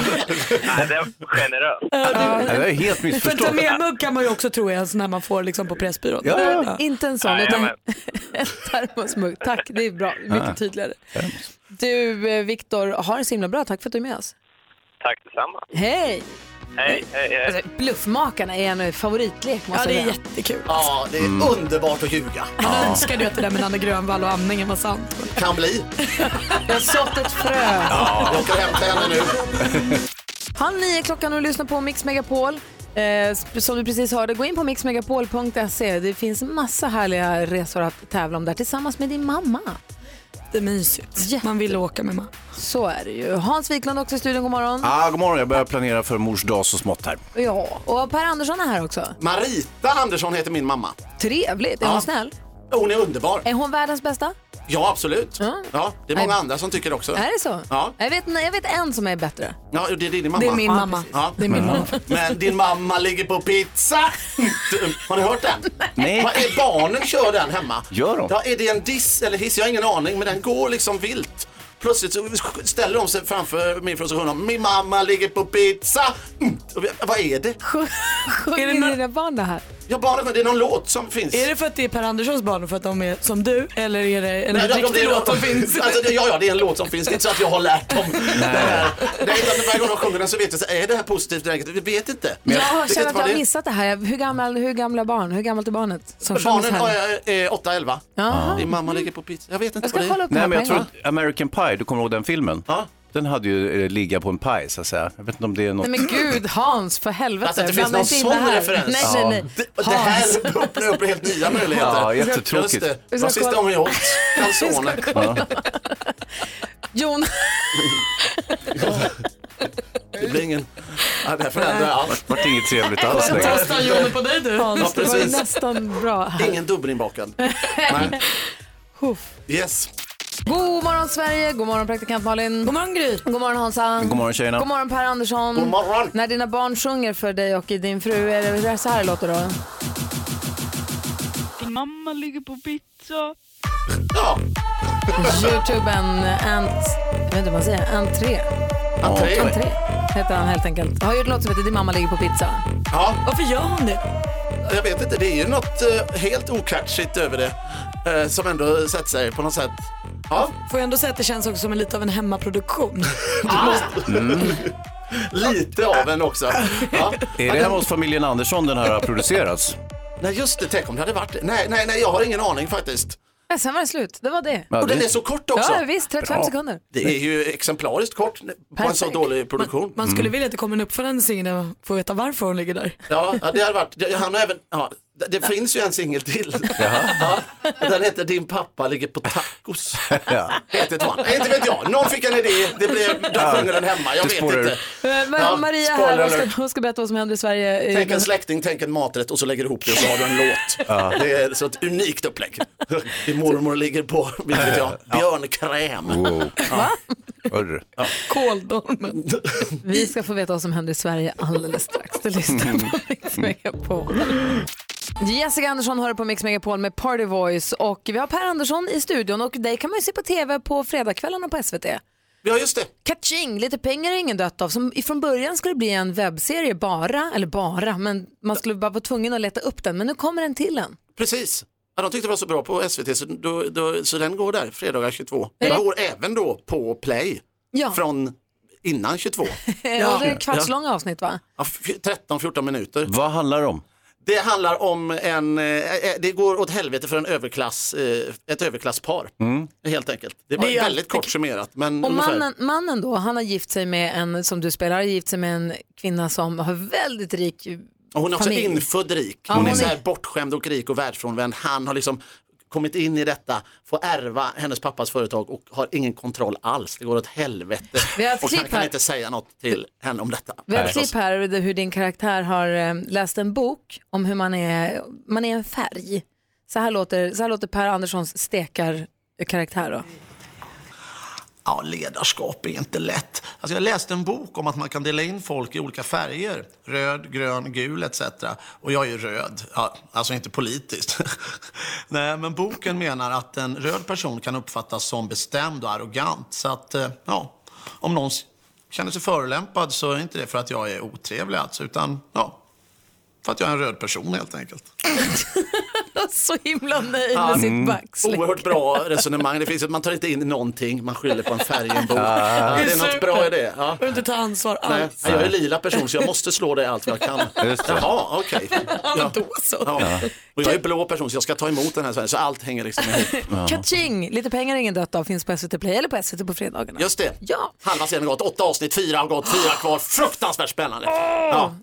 F: Nej, det var generöst.
D: Ja,
F: det
C: är helt
D: För en ta med-mugg kan man ju också tro är en sån här man får liksom på Pressbyrån.
B: Inte en sån,
D: Nej,
B: utan
D: men-
B: en termosmugg. Tack, det är bra.
D: Ja.
B: Mycket tydligare. Du, eh, Viktor, har det så himla bra. Tack för att du är med oss.
F: Tack detsamma.
B: Hej! Alltså,
F: Hej, hej, hej.
B: Bluffmakarna är en favoritlek, måste
D: Ja, det är
B: jag säga.
D: jättekul.
T: Ja, det är
B: Mm.
T: underbart att ljuga.
D: Man önskar ju att det där med Nanne Grönvall och amningen var sant.
T: Kan bli.
B: Jag har sått ett frö.
T: Ja, jag åker och hämtar henne nu.
B: Halv nio är klockan och du lyssnar på Mix Megapol. Eh, som du precis hörde, gå in på mixmegapol.se. Det finns massa härliga resor att tävla om där tillsammans med din mamma.
D: Det är mysigt. Man vill åka med mamma.
B: Så är det ju. Hans Wiklund också i studion, god morgon.
C: Ah, god morgon, jag börjar planera för mors dag så smått här.
B: Ja, och Per Andersson är här också.
T: Marita Andersson heter min mamma.
B: Trevligt, är
T: Ja.
B: hon snäll?
T: Hon är underbar.
B: Är hon världens bästa?
T: Ja, absolut. Ja, det är många
B: Nej.
T: andra som tycker också.
B: Är det så?
T: Ja.
B: Jag, vet, jag vet en som är bättre.
T: Ja, det är din mamma.
B: Det är min
T: Ja,
B: mamma.
T: precis. Ja. Men din mamma ligger på pizza. Du, Har ni hört den?
C: Nej.
T: Vad är barnen kör den hemma.
C: Gör de?
T: Ja, är det en diss eller hiss? Jag har ingen aning, men den går liksom vilt. Plötsligt så ställer de sig framför min frustration om min mamma ligger på pizza. Mm. Och vi- Vad är det?
B: Sjunger dina barn det här?
T: Ja, barnen, det är någon låt som finns.
D: Är det för att det är Per Anderssons barn och för att de är som du eller är det en
T: Nej, det-
D: riktig
T: det-
D: låt som finns?
T: Alltså, det- ja, ja, det är en låt som finns. Det är inte så att jag har lärt dem det här. Nej, utan varje gång de sjunger den så vet jag, så här, är det här positivt eller negativt? Vi vet inte.
B: Jag
T: Det
B: har
T: vet
B: känner att
T: vad
B: jag
T: det
B: har
T: är.
B: missat det här. Jag- Hur, gammal, hur gamla barn? Hur gammalt är barnet? Som
T: Barnen
B: sjungs här?
T: har, eh, 8-11.
B: Jaha.
T: Din mamma ligger på pizza. Jag vet inte
B: Jag ska
T: vad det är.
B: kolla upp det
C: Nej,
B: här
C: men jag
B: på
C: tror
B: en gång.
C: att American Pie, du kommer ihåg den filmen? Den hade ju eh, ligga på en paj så att säga. Jag vet inte om det är något...
B: Nej men gud Hans, för helvete.
T: Alltså, det finns
B: Blanda
T: någon
B: inte in det
T: sån
B: här.
T: referens.
B: Nej, nej, nej.
T: Ja. Det- det här öppnar upp helt nya möjligheter.
C: Ja, jättetråkigt.
T: Just det.
B: Vi
T: Det
B: ska
T: var sista
B: kolla.
T: gången jag åt calzone.
C: Ja.
B: Jon,
T: Det blir ingen... Ja, det här förändrar allt.
C: Det vart inget trevligt alls längre.
D: Testar Johnny på dig du?
T: Ja,
B: Hans, det var ju
T: precis.
B: nästan bra här.
T: Ingen dubbelinbakad. *laughs* Nej. Yes.
B: God morgon Sverige, god morgon praktikant Malin. God
D: morgon Gry.
B: God morgon Hansa.
C: God morgon, tjejerna.
B: God morgon Per Andersson.
C: God morgon.
B: När dina barn sjunger för dig och din fru, är det- är det så här det låter då?
U: Din mamma ligger på pizza.
B: Youtuben Ant... Jag vet inte vad man säger. Entré.
T: Entré.
B: Entré heter han helt enkelt. Har gjort en låt som heter Din mamma ligger på pizza.
T: Ja.
D: Varför gör hon det?
T: Jag vet inte, det är ju något eh, helt okatchigt över det. eh, Som ändå sätter sig på något sätt. Ja.
D: Får jag ändå säga att det känns också som en lite av en
T: *laughs*
D: hemmaproduktion.
T: Ah.
C: Mm.
T: Lite av en också. Ja.
C: Är det hemma hos familjen Andersson den här har producerats?
T: Nej just det, tänk om det hade varit det. Nej, nej, nej, jag har ingen aning faktiskt.
B: Men sen var det slut. Det var det.
T: Ja, Och det- den är så kort också.
B: Ja, visst. 35
T: Bra.
B: sekunder.
T: Det är ju exemplariskt kort på en så
D: Perfekt.
T: dålig produktion. Mm.
D: Man skulle vilja att det kom en uppföljande singel och få veta varför hon ligger där.
T: Ja, ja, det hade varit, det- han har även, ja, det, det finns ju en singel till. Ja, den heter Din pappa ligger på tacos.
C: Ja.
T: Vet inte, vad. inte vet jag, någon fick en idé, det blev, de
C: Ja.
T: sjunger den hemma, jag
C: Det
T: vet
C: spårar
T: inte.
C: ur.
B: Men
T: Ja,
B: Eh, Maria
T: spoiler
B: här, hon ska,
T: alert.
B: hon ska berätta vad som händer i Sverige. i
T: Tänk
B: den-
T: en släkting, tänk en maträtt och så lägger du ihop det och så
B: *laughs*
T: har du en låt.
C: Ja.
T: Det är så ett unikt upplägg. Din mormor ligger på, vet inte jag, björnkräm.
B: Oh.
C: Wow.
T: Ja.
C: Hörru.
T: *laughs*
D: Kåldolmen.
B: Vi ska få veta vad som händer i Sverige alldeles strax. Du
T: Mm.
B: lyssnar på Mix Megapol. Jessica Andersson hör på Mix Megapol med Party Voice och vi har Per Andersson i studion och dig kan man ju se på tv på fredagskvällarna på SVT.
T: Ja, just det.
B: Catching, lite pengar är ingen dött av. Som från början skulle det bli en webbserie bara, eller bara, men man skulle bara vara tvungen att leta upp den. Men nu kommer en till en.
T: Precis. Ja, de tyckte det var så bra på SVT så, då, då, så den går där fredagar 22. Den går även då på Play
B: Ja.
T: från innan 22.
B: *laughs* Ja. Det är kvartslånga avsnitt va?
T: Ja, f- 13-14 minuter.
C: Vad handlar det om?
T: Det handlar om en, eh, eh, det går åt helvete för en överklass, eh, ett överklasspar.
C: Mm.
T: Helt enkelt. Det var
B: Det är ju
T: väldigt kort summerat. Men
B: Och
T: Mm, ungefär.
B: mannen, mannen då, han har gift sig med en, som du spelar, har gift sig med en kvinna som har väldigt rik
T: Och hon är också
B: familj.
T: infödd rik.
B: Ja,
T: hon är
B: hon
T: så
B: är-
T: här bortskämd och rik och världsfrånvänd. Han har liksom kommit in i detta, får ärva hennes pappas företag och har ingen kontroll alls. Det går åt helvete.
B: Vi har ett
T: och han
B: klipp
T: kan
B: här.
T: inte säga något till henne om detta.
B: Vi har ett
T: Nej.
B: klipp här där hur din karaktär har eh, läst en bok om hur man är, man är en färg. Så här låter, så här låter Per Anderssons stekarkaraktär då. *laughs*
Y: Ja, ledarskap är inte lätt. Alltså jag läste en bok om att man kan dela in folk i olika färger. Röd, grön, gul etc. Och jag är ju röd. Ja, alltså inte politiskt. *laughs* Nej, men boken menar att en röd person kan uppfattas som bestämd och arrogant. Så att, eh, ja, om någon s- känner sig förolämpad så är inte det för att jag är otrevlig alltså, utan ja, för att jag är en röd person helt enkelt.
B: Så himla nöjd
T: Ja,
B: med
T: mm.
B: sitt backslick.
T: Oerhört bra resonemang. Det finns att man tar inte in någonting, man skyller på en färg i en bok.
Y: Ah.
T: Ja, det
D: Det
T: är
D: är
T: något
D: super.
T: bra i det. Ja.
D: behöver inte ta ansvar
T: Nej,
D: alls.
T: jag är lila person så jag måste slå dig allt vad jag kan.
D: Alltså. Just det.
T: Jaha, okej. Ja.
B: Då så.
T: Ja. Och jag är blå person så jag ska ta emot den här så här, så allt hänger liksom
B: *laughs*
T: ihop.
B: Kaching! Lite pengar är ingen dött av finns på SVT Play eller på SVT på fredagarna.
T: Just det. Halva scenen har gått, åtta avsnitt, fyra har gått, fyra kvar. Fruktansvärt spännande. Ja.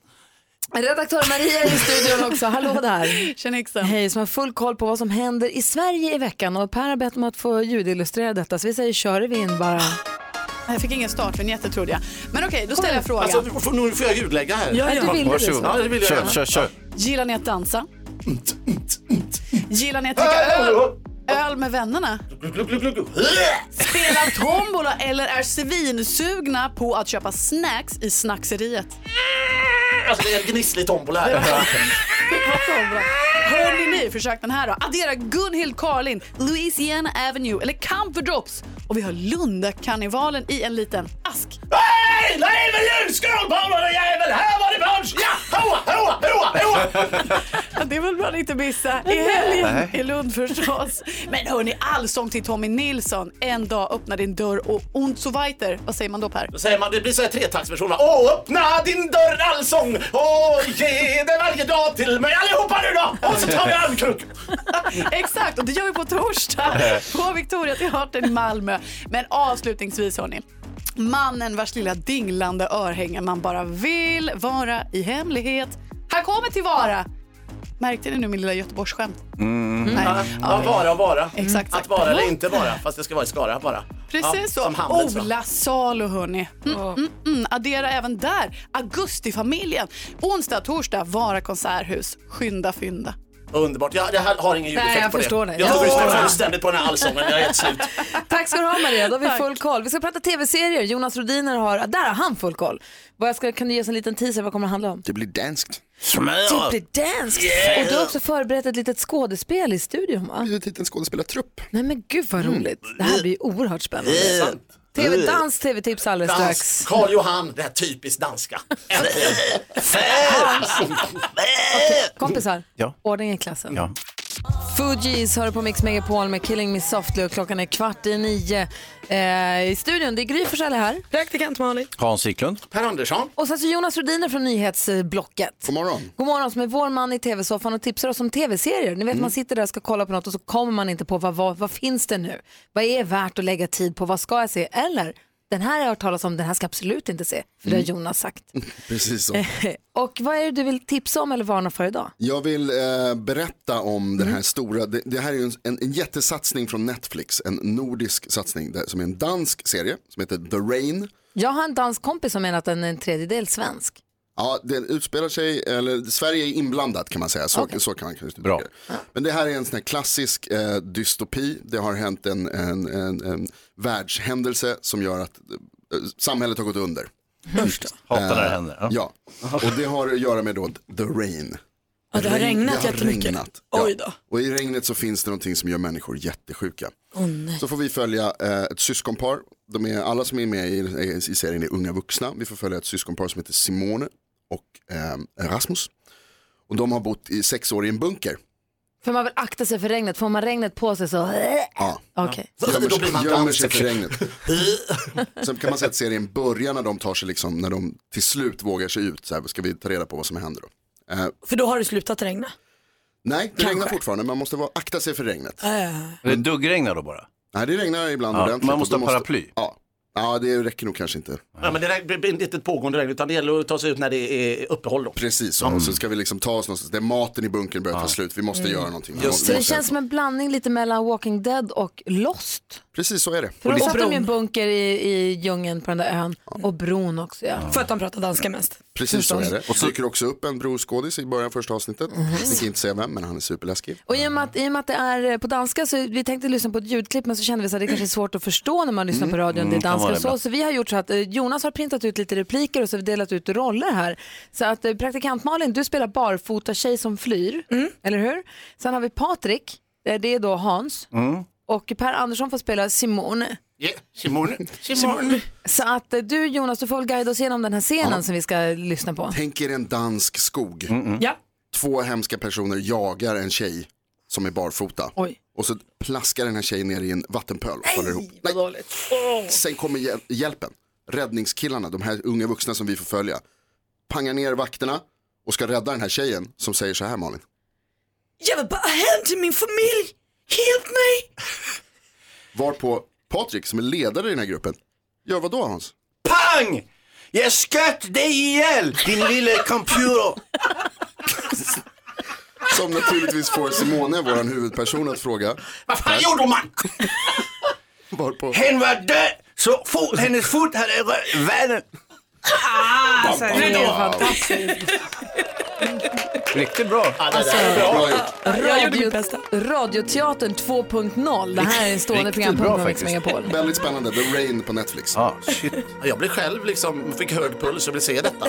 B: Redaktör Maria är i studion också. Hallå där!
Z: Tjena yxan.
B: Hej, som har full koll på vad som händer i Sverige i veckan och Per har bett om att få ljudillustrera detta så vi säger kör vi in bara.
Z: Jag fick ingen startvinjett trodde jag. Men okej, då ställer jag frågan.
T: Alltså, nu får- nu får jag ljudlägga här.
Z: Ja, ja. Du ville det så.
T: Varsågod. Ja, det vill jag.
Z: Kör,
T: gärna.
Z: kör, kör. Gillar ni att dansa? Gillar ni att dricka
T: Äh,
Z: öl, öl med vännerna? Spelar tombola eller är svinsugna på att köpa snacks i snackseriet?
T: Alltså, det är en gnisslig tombola här.
Z: Hörni ni, försök den här då. Addera Gunhild Carlin, Louisiana Avenue eller Camp for Drops. Och vi har Lundakarnevalen i en liten ask.
T: Hej! Leve julskål Paula-jävel! Här var det punch! Ja! Hoa, hoa, hoa, hoa!
Z: *laughs* Ja, det vill man inte missa. I helgen
T: Nej.
Z: i Lund förstås. Men hörni, allsång till Tommy Nilsson. En dag öppnar din dörr och ont so weiter. Vad säger man då Per?
T: Då säger man, det blir så här tretaktsversion va? Åh, öppna din dörr allsång! Åh, ge det varje dag till mig allihopa nu då! Och så tar vi armkrok!
Z: *laughs* Exakt, och det gör vi på torsdag på Victoria Teatern i Malmö. Men avslutningsvis hörni. Mannen vars lilla dinglande örhänge man bara vill vara i hemlighet. Han kommer till Vara. Märkte ni nu min lilla Göteborgsskämt?
T: Mm.
Z: Nej.
T: Ja, ja, vara och vara.
Z: Exakt,
T: Att vara eller inte vara, fast det ska vara i Skara bara.
Z: Precis
T: ja, Som
Z: så.
T: Hamlet sa.
Z: Ola Salo, hörni. Mm, mm, mm. Addera även där. Augustifamiljen. Onsdag, torsdag, Vara konserthus. Skynda, fynda.
T: Underbart. Jag, jag har ingen ljudeffekt
Z: Nej, jag
T: på
Z: förstår
T: det.
Z: det.
T: Jag
Z: Ja.
T: står lyssnar fullständigt på den här allsången. Jag är helt slut.
B: Tack ska du ha Maria, då har vi full koll. Vi ska prata tv-serier, Jonas Rodiner har, där har han full koll. Vad ska, kan du ge oss en liten teaser, vad kommer det handla om?
I: Det blir danskt.
B: Typ blir danskt!
I: Yeah.
B: Och du har också förberett ett litet skådespel i studion va?
I: Ett litet skådespelartrupp.
B: Nej men gud vad roligt, det här blir ju oerhört spännande.
T: Yeah.
B: TV, dans, tv-tips alldeles strax.
T: Dans. Karl Johan, det här typiskt danska.
B: Okej, kompisar,
C: Ja.
B: ordning i klassen.
C: Ja.
B: Fugees hör på Mix Megapol med Killing Me Softly och klockan är kvart i nio. Eh, I studion, det är Gry Forssell här.
D: Praktikant Malin.
C: Hans Wiklund.
T: Per Andersson.
B: Och sen så Jonas Rhodiner från nyhetsblocket.
I: God morgon.
B: God morgon som är vår man i tv-soffan och tipsar oss om tv-serier.
I: Mm.
B: Ni vet man sitter där och ska kolla på något och så kommer man inte på vad, vad, vad finns det nu? Vad är värt att lägga tid på? Vad ska jag se? Eller den här har jag hört talas om, den här ska jag absolut inte se. För det har
I: Mm.
B: Jonas sagt.
I: *laughs* Precis så.
B: *laughs*
D: Eh.
B: och vad är det du vill tipsa om eller varna för idag?
I: Jag vill eh, berätta om
C: Mm.
I: den här stora, det, det här är ju en, en, en jättesatsning från Netflix, en nordisk satsning där, som är en dansk serie som heter The Rain.
B: Jag har en dansk kompis som menar att den är en tredjedel svensk.
I: Ja, den utspelar sig, eller Sverige är inblandat kan man säga. Så, så kan man kanske Bra. Men det här är en sån här klassisk eh, dystopi. Det har hänt en, en, en, en världshändelse som gör att eh, samhället har gått under.
C: Hatar när det händer.
I: Ja. och det har att göra med då the rain.
D: Ja, det har
I: Regn-
D: regnat
I: det har
D: jättemycket.
I: regnat.
D: Oj då.
I: Och i regnet så finns det någonting som gör människor jättesjuka.
D: Åh nej.
I: Så får vi följa eh, ett syskonpar. De är, alla som är med i, i, i serien är unga vuxna. Vi får följa ett syskonpar som heter Simone och eh, Rasmus. Och de har bott i sex år i en bunker.
B: För man vill akta sig för regnet. Får man regnet på sig så...
I: Ja.
B: Okej.
I: Gömmer
B: Då blir man
I: sig, gömmer
B: dansig.
I: sig för regnet.
B: *laughs*
I: Sen kan man säga att serien börjar när de tar sig liksom, när de till slut vågar sig ut. Så här, ska vi ta reda på vad som händer då? Eh,
D: För då har det slutat regna.
I: nej, det regnar fortfarande, man måste vara, akta sig för regnet.
B: Äh.
C: Det duggregnar då bara?
I: Nej, det regnar ibland
C: Ja,
I: ordentligt.
C: man måste
I: och då
C: ha paraply.
I: Ja. ja, det räcker nog kanske inte.
T: Ja, men det regn- det blir inte ett pågående regn utan det gäller att ta sig ut när det är uppehåll. Då.
I: Precis så,
T: Mm.
I: och så ska vi liksom ta oss någonstans. Det är maten i bunkern börjar ta slut, vi måste
B: Mm.
I: göra någonting. Vi
B: Så
I: måste,
B: det känns som en blandning lite mellan Walking Dead och Lost.
I: Precis så är det.
B: För då satt de i en bunker i, i djungeln på den där ön. Och bron också ja.
D: För att de pratar danska mest.
I: Precis så är det. Och så dyker också upp en broskådis i början av första avsnittet.
B: Mm-hmm.
I: Vi kan inte säga vem, men han är superläskig.
B: Och i och, med att, i och med att det är eh, på danska så vi tänkte lyssna på ett ljudklipp men så kände vi så att det
D: *clears throat*
B: kanske är svårt att förstå när man lyssnar på radion,
I: Mm,
B: det är
I: kan
B: danska
I: vara
B: och
I: det
B: så.
I: ibland.
B: Så vi har gjort så att eh, Jonas har printat ut lite repliker och så har vi delat ut roller här. Så att eh, praktikant Malin, du spelar barfota tjej som flyr,
D: Mm.
B: eller hur? Sen har vi Patrik, eh, det är då Hans.
T: Mm.
B: Och Per Andersson får spela Simone.
T: Yeah. Simone. Simone.
B: Så att eh, du Jonas, du får väl guida oss igenom den här scenen som vi ska lyssna på.
I: Tänk er en dansk skog.
D: Ja.
I: Två hemska personer jagar en tjej som är barfota. Och så plaskar den här tjejen ner i en vattenpöl och faller ihop.
D: Vad dåligt.
I: Sen kommer hjäl- hjälpen. Räddningskillarna, de här unga vuxna som vi får följa. Pangar ner vakterna och ska rädda den här tjejen som säger så här Malin.
D: Jag vill bara hem till min familj. Hjälp mig!
I: Varpå Patrik som är ledare i den här gruppen. Gör vad då Hans?
T: Pang! Jag sköt dig ihjäl, din lille computer.
I: Som naturligtvis får Simone, vår huvudperson, att fråga.
T: Vad fan gjorde man?
I: Varpå...
T: Hen var död, så fot, hennes fot hade rört världen.
E: Alltså, det är
B: fantastiskt.
C: Riktigt bra.
T: Alltså, bra
B: Radio, radioteatern 2.0, det här är en stående programpunkt på Mix Megapol.
I: Väldigt spännande, The Rain på Netflix.
C: Ah, shit.
T: Jag blev själv liksom, fick hög puls och ville se detta.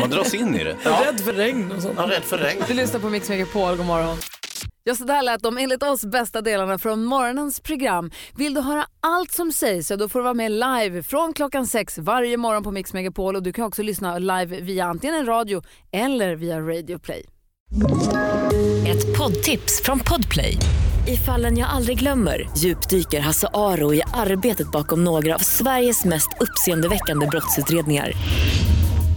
C: Man dras in i det.
D: Rädd för regn och sånt.
T: Ja, rädd för regn.
B: Du lyssnar på Mix Megapol, god morgon.
A: Ja, så där lät de enligt oss bästa delarna från morgonens program. Vill du höra allt som sägs så då får du vara med live från klockan sex varje morgon på Mix Megapol och du kan också lyssna live via antingen en radio eller via Radio Play.
G: Ett poddtips från Podplay. I fallen jag aldrig glömmer djupdyker Hasse Aro i arbetet bakom några av Sveriges mest uppseendeväckande brottsutredningar.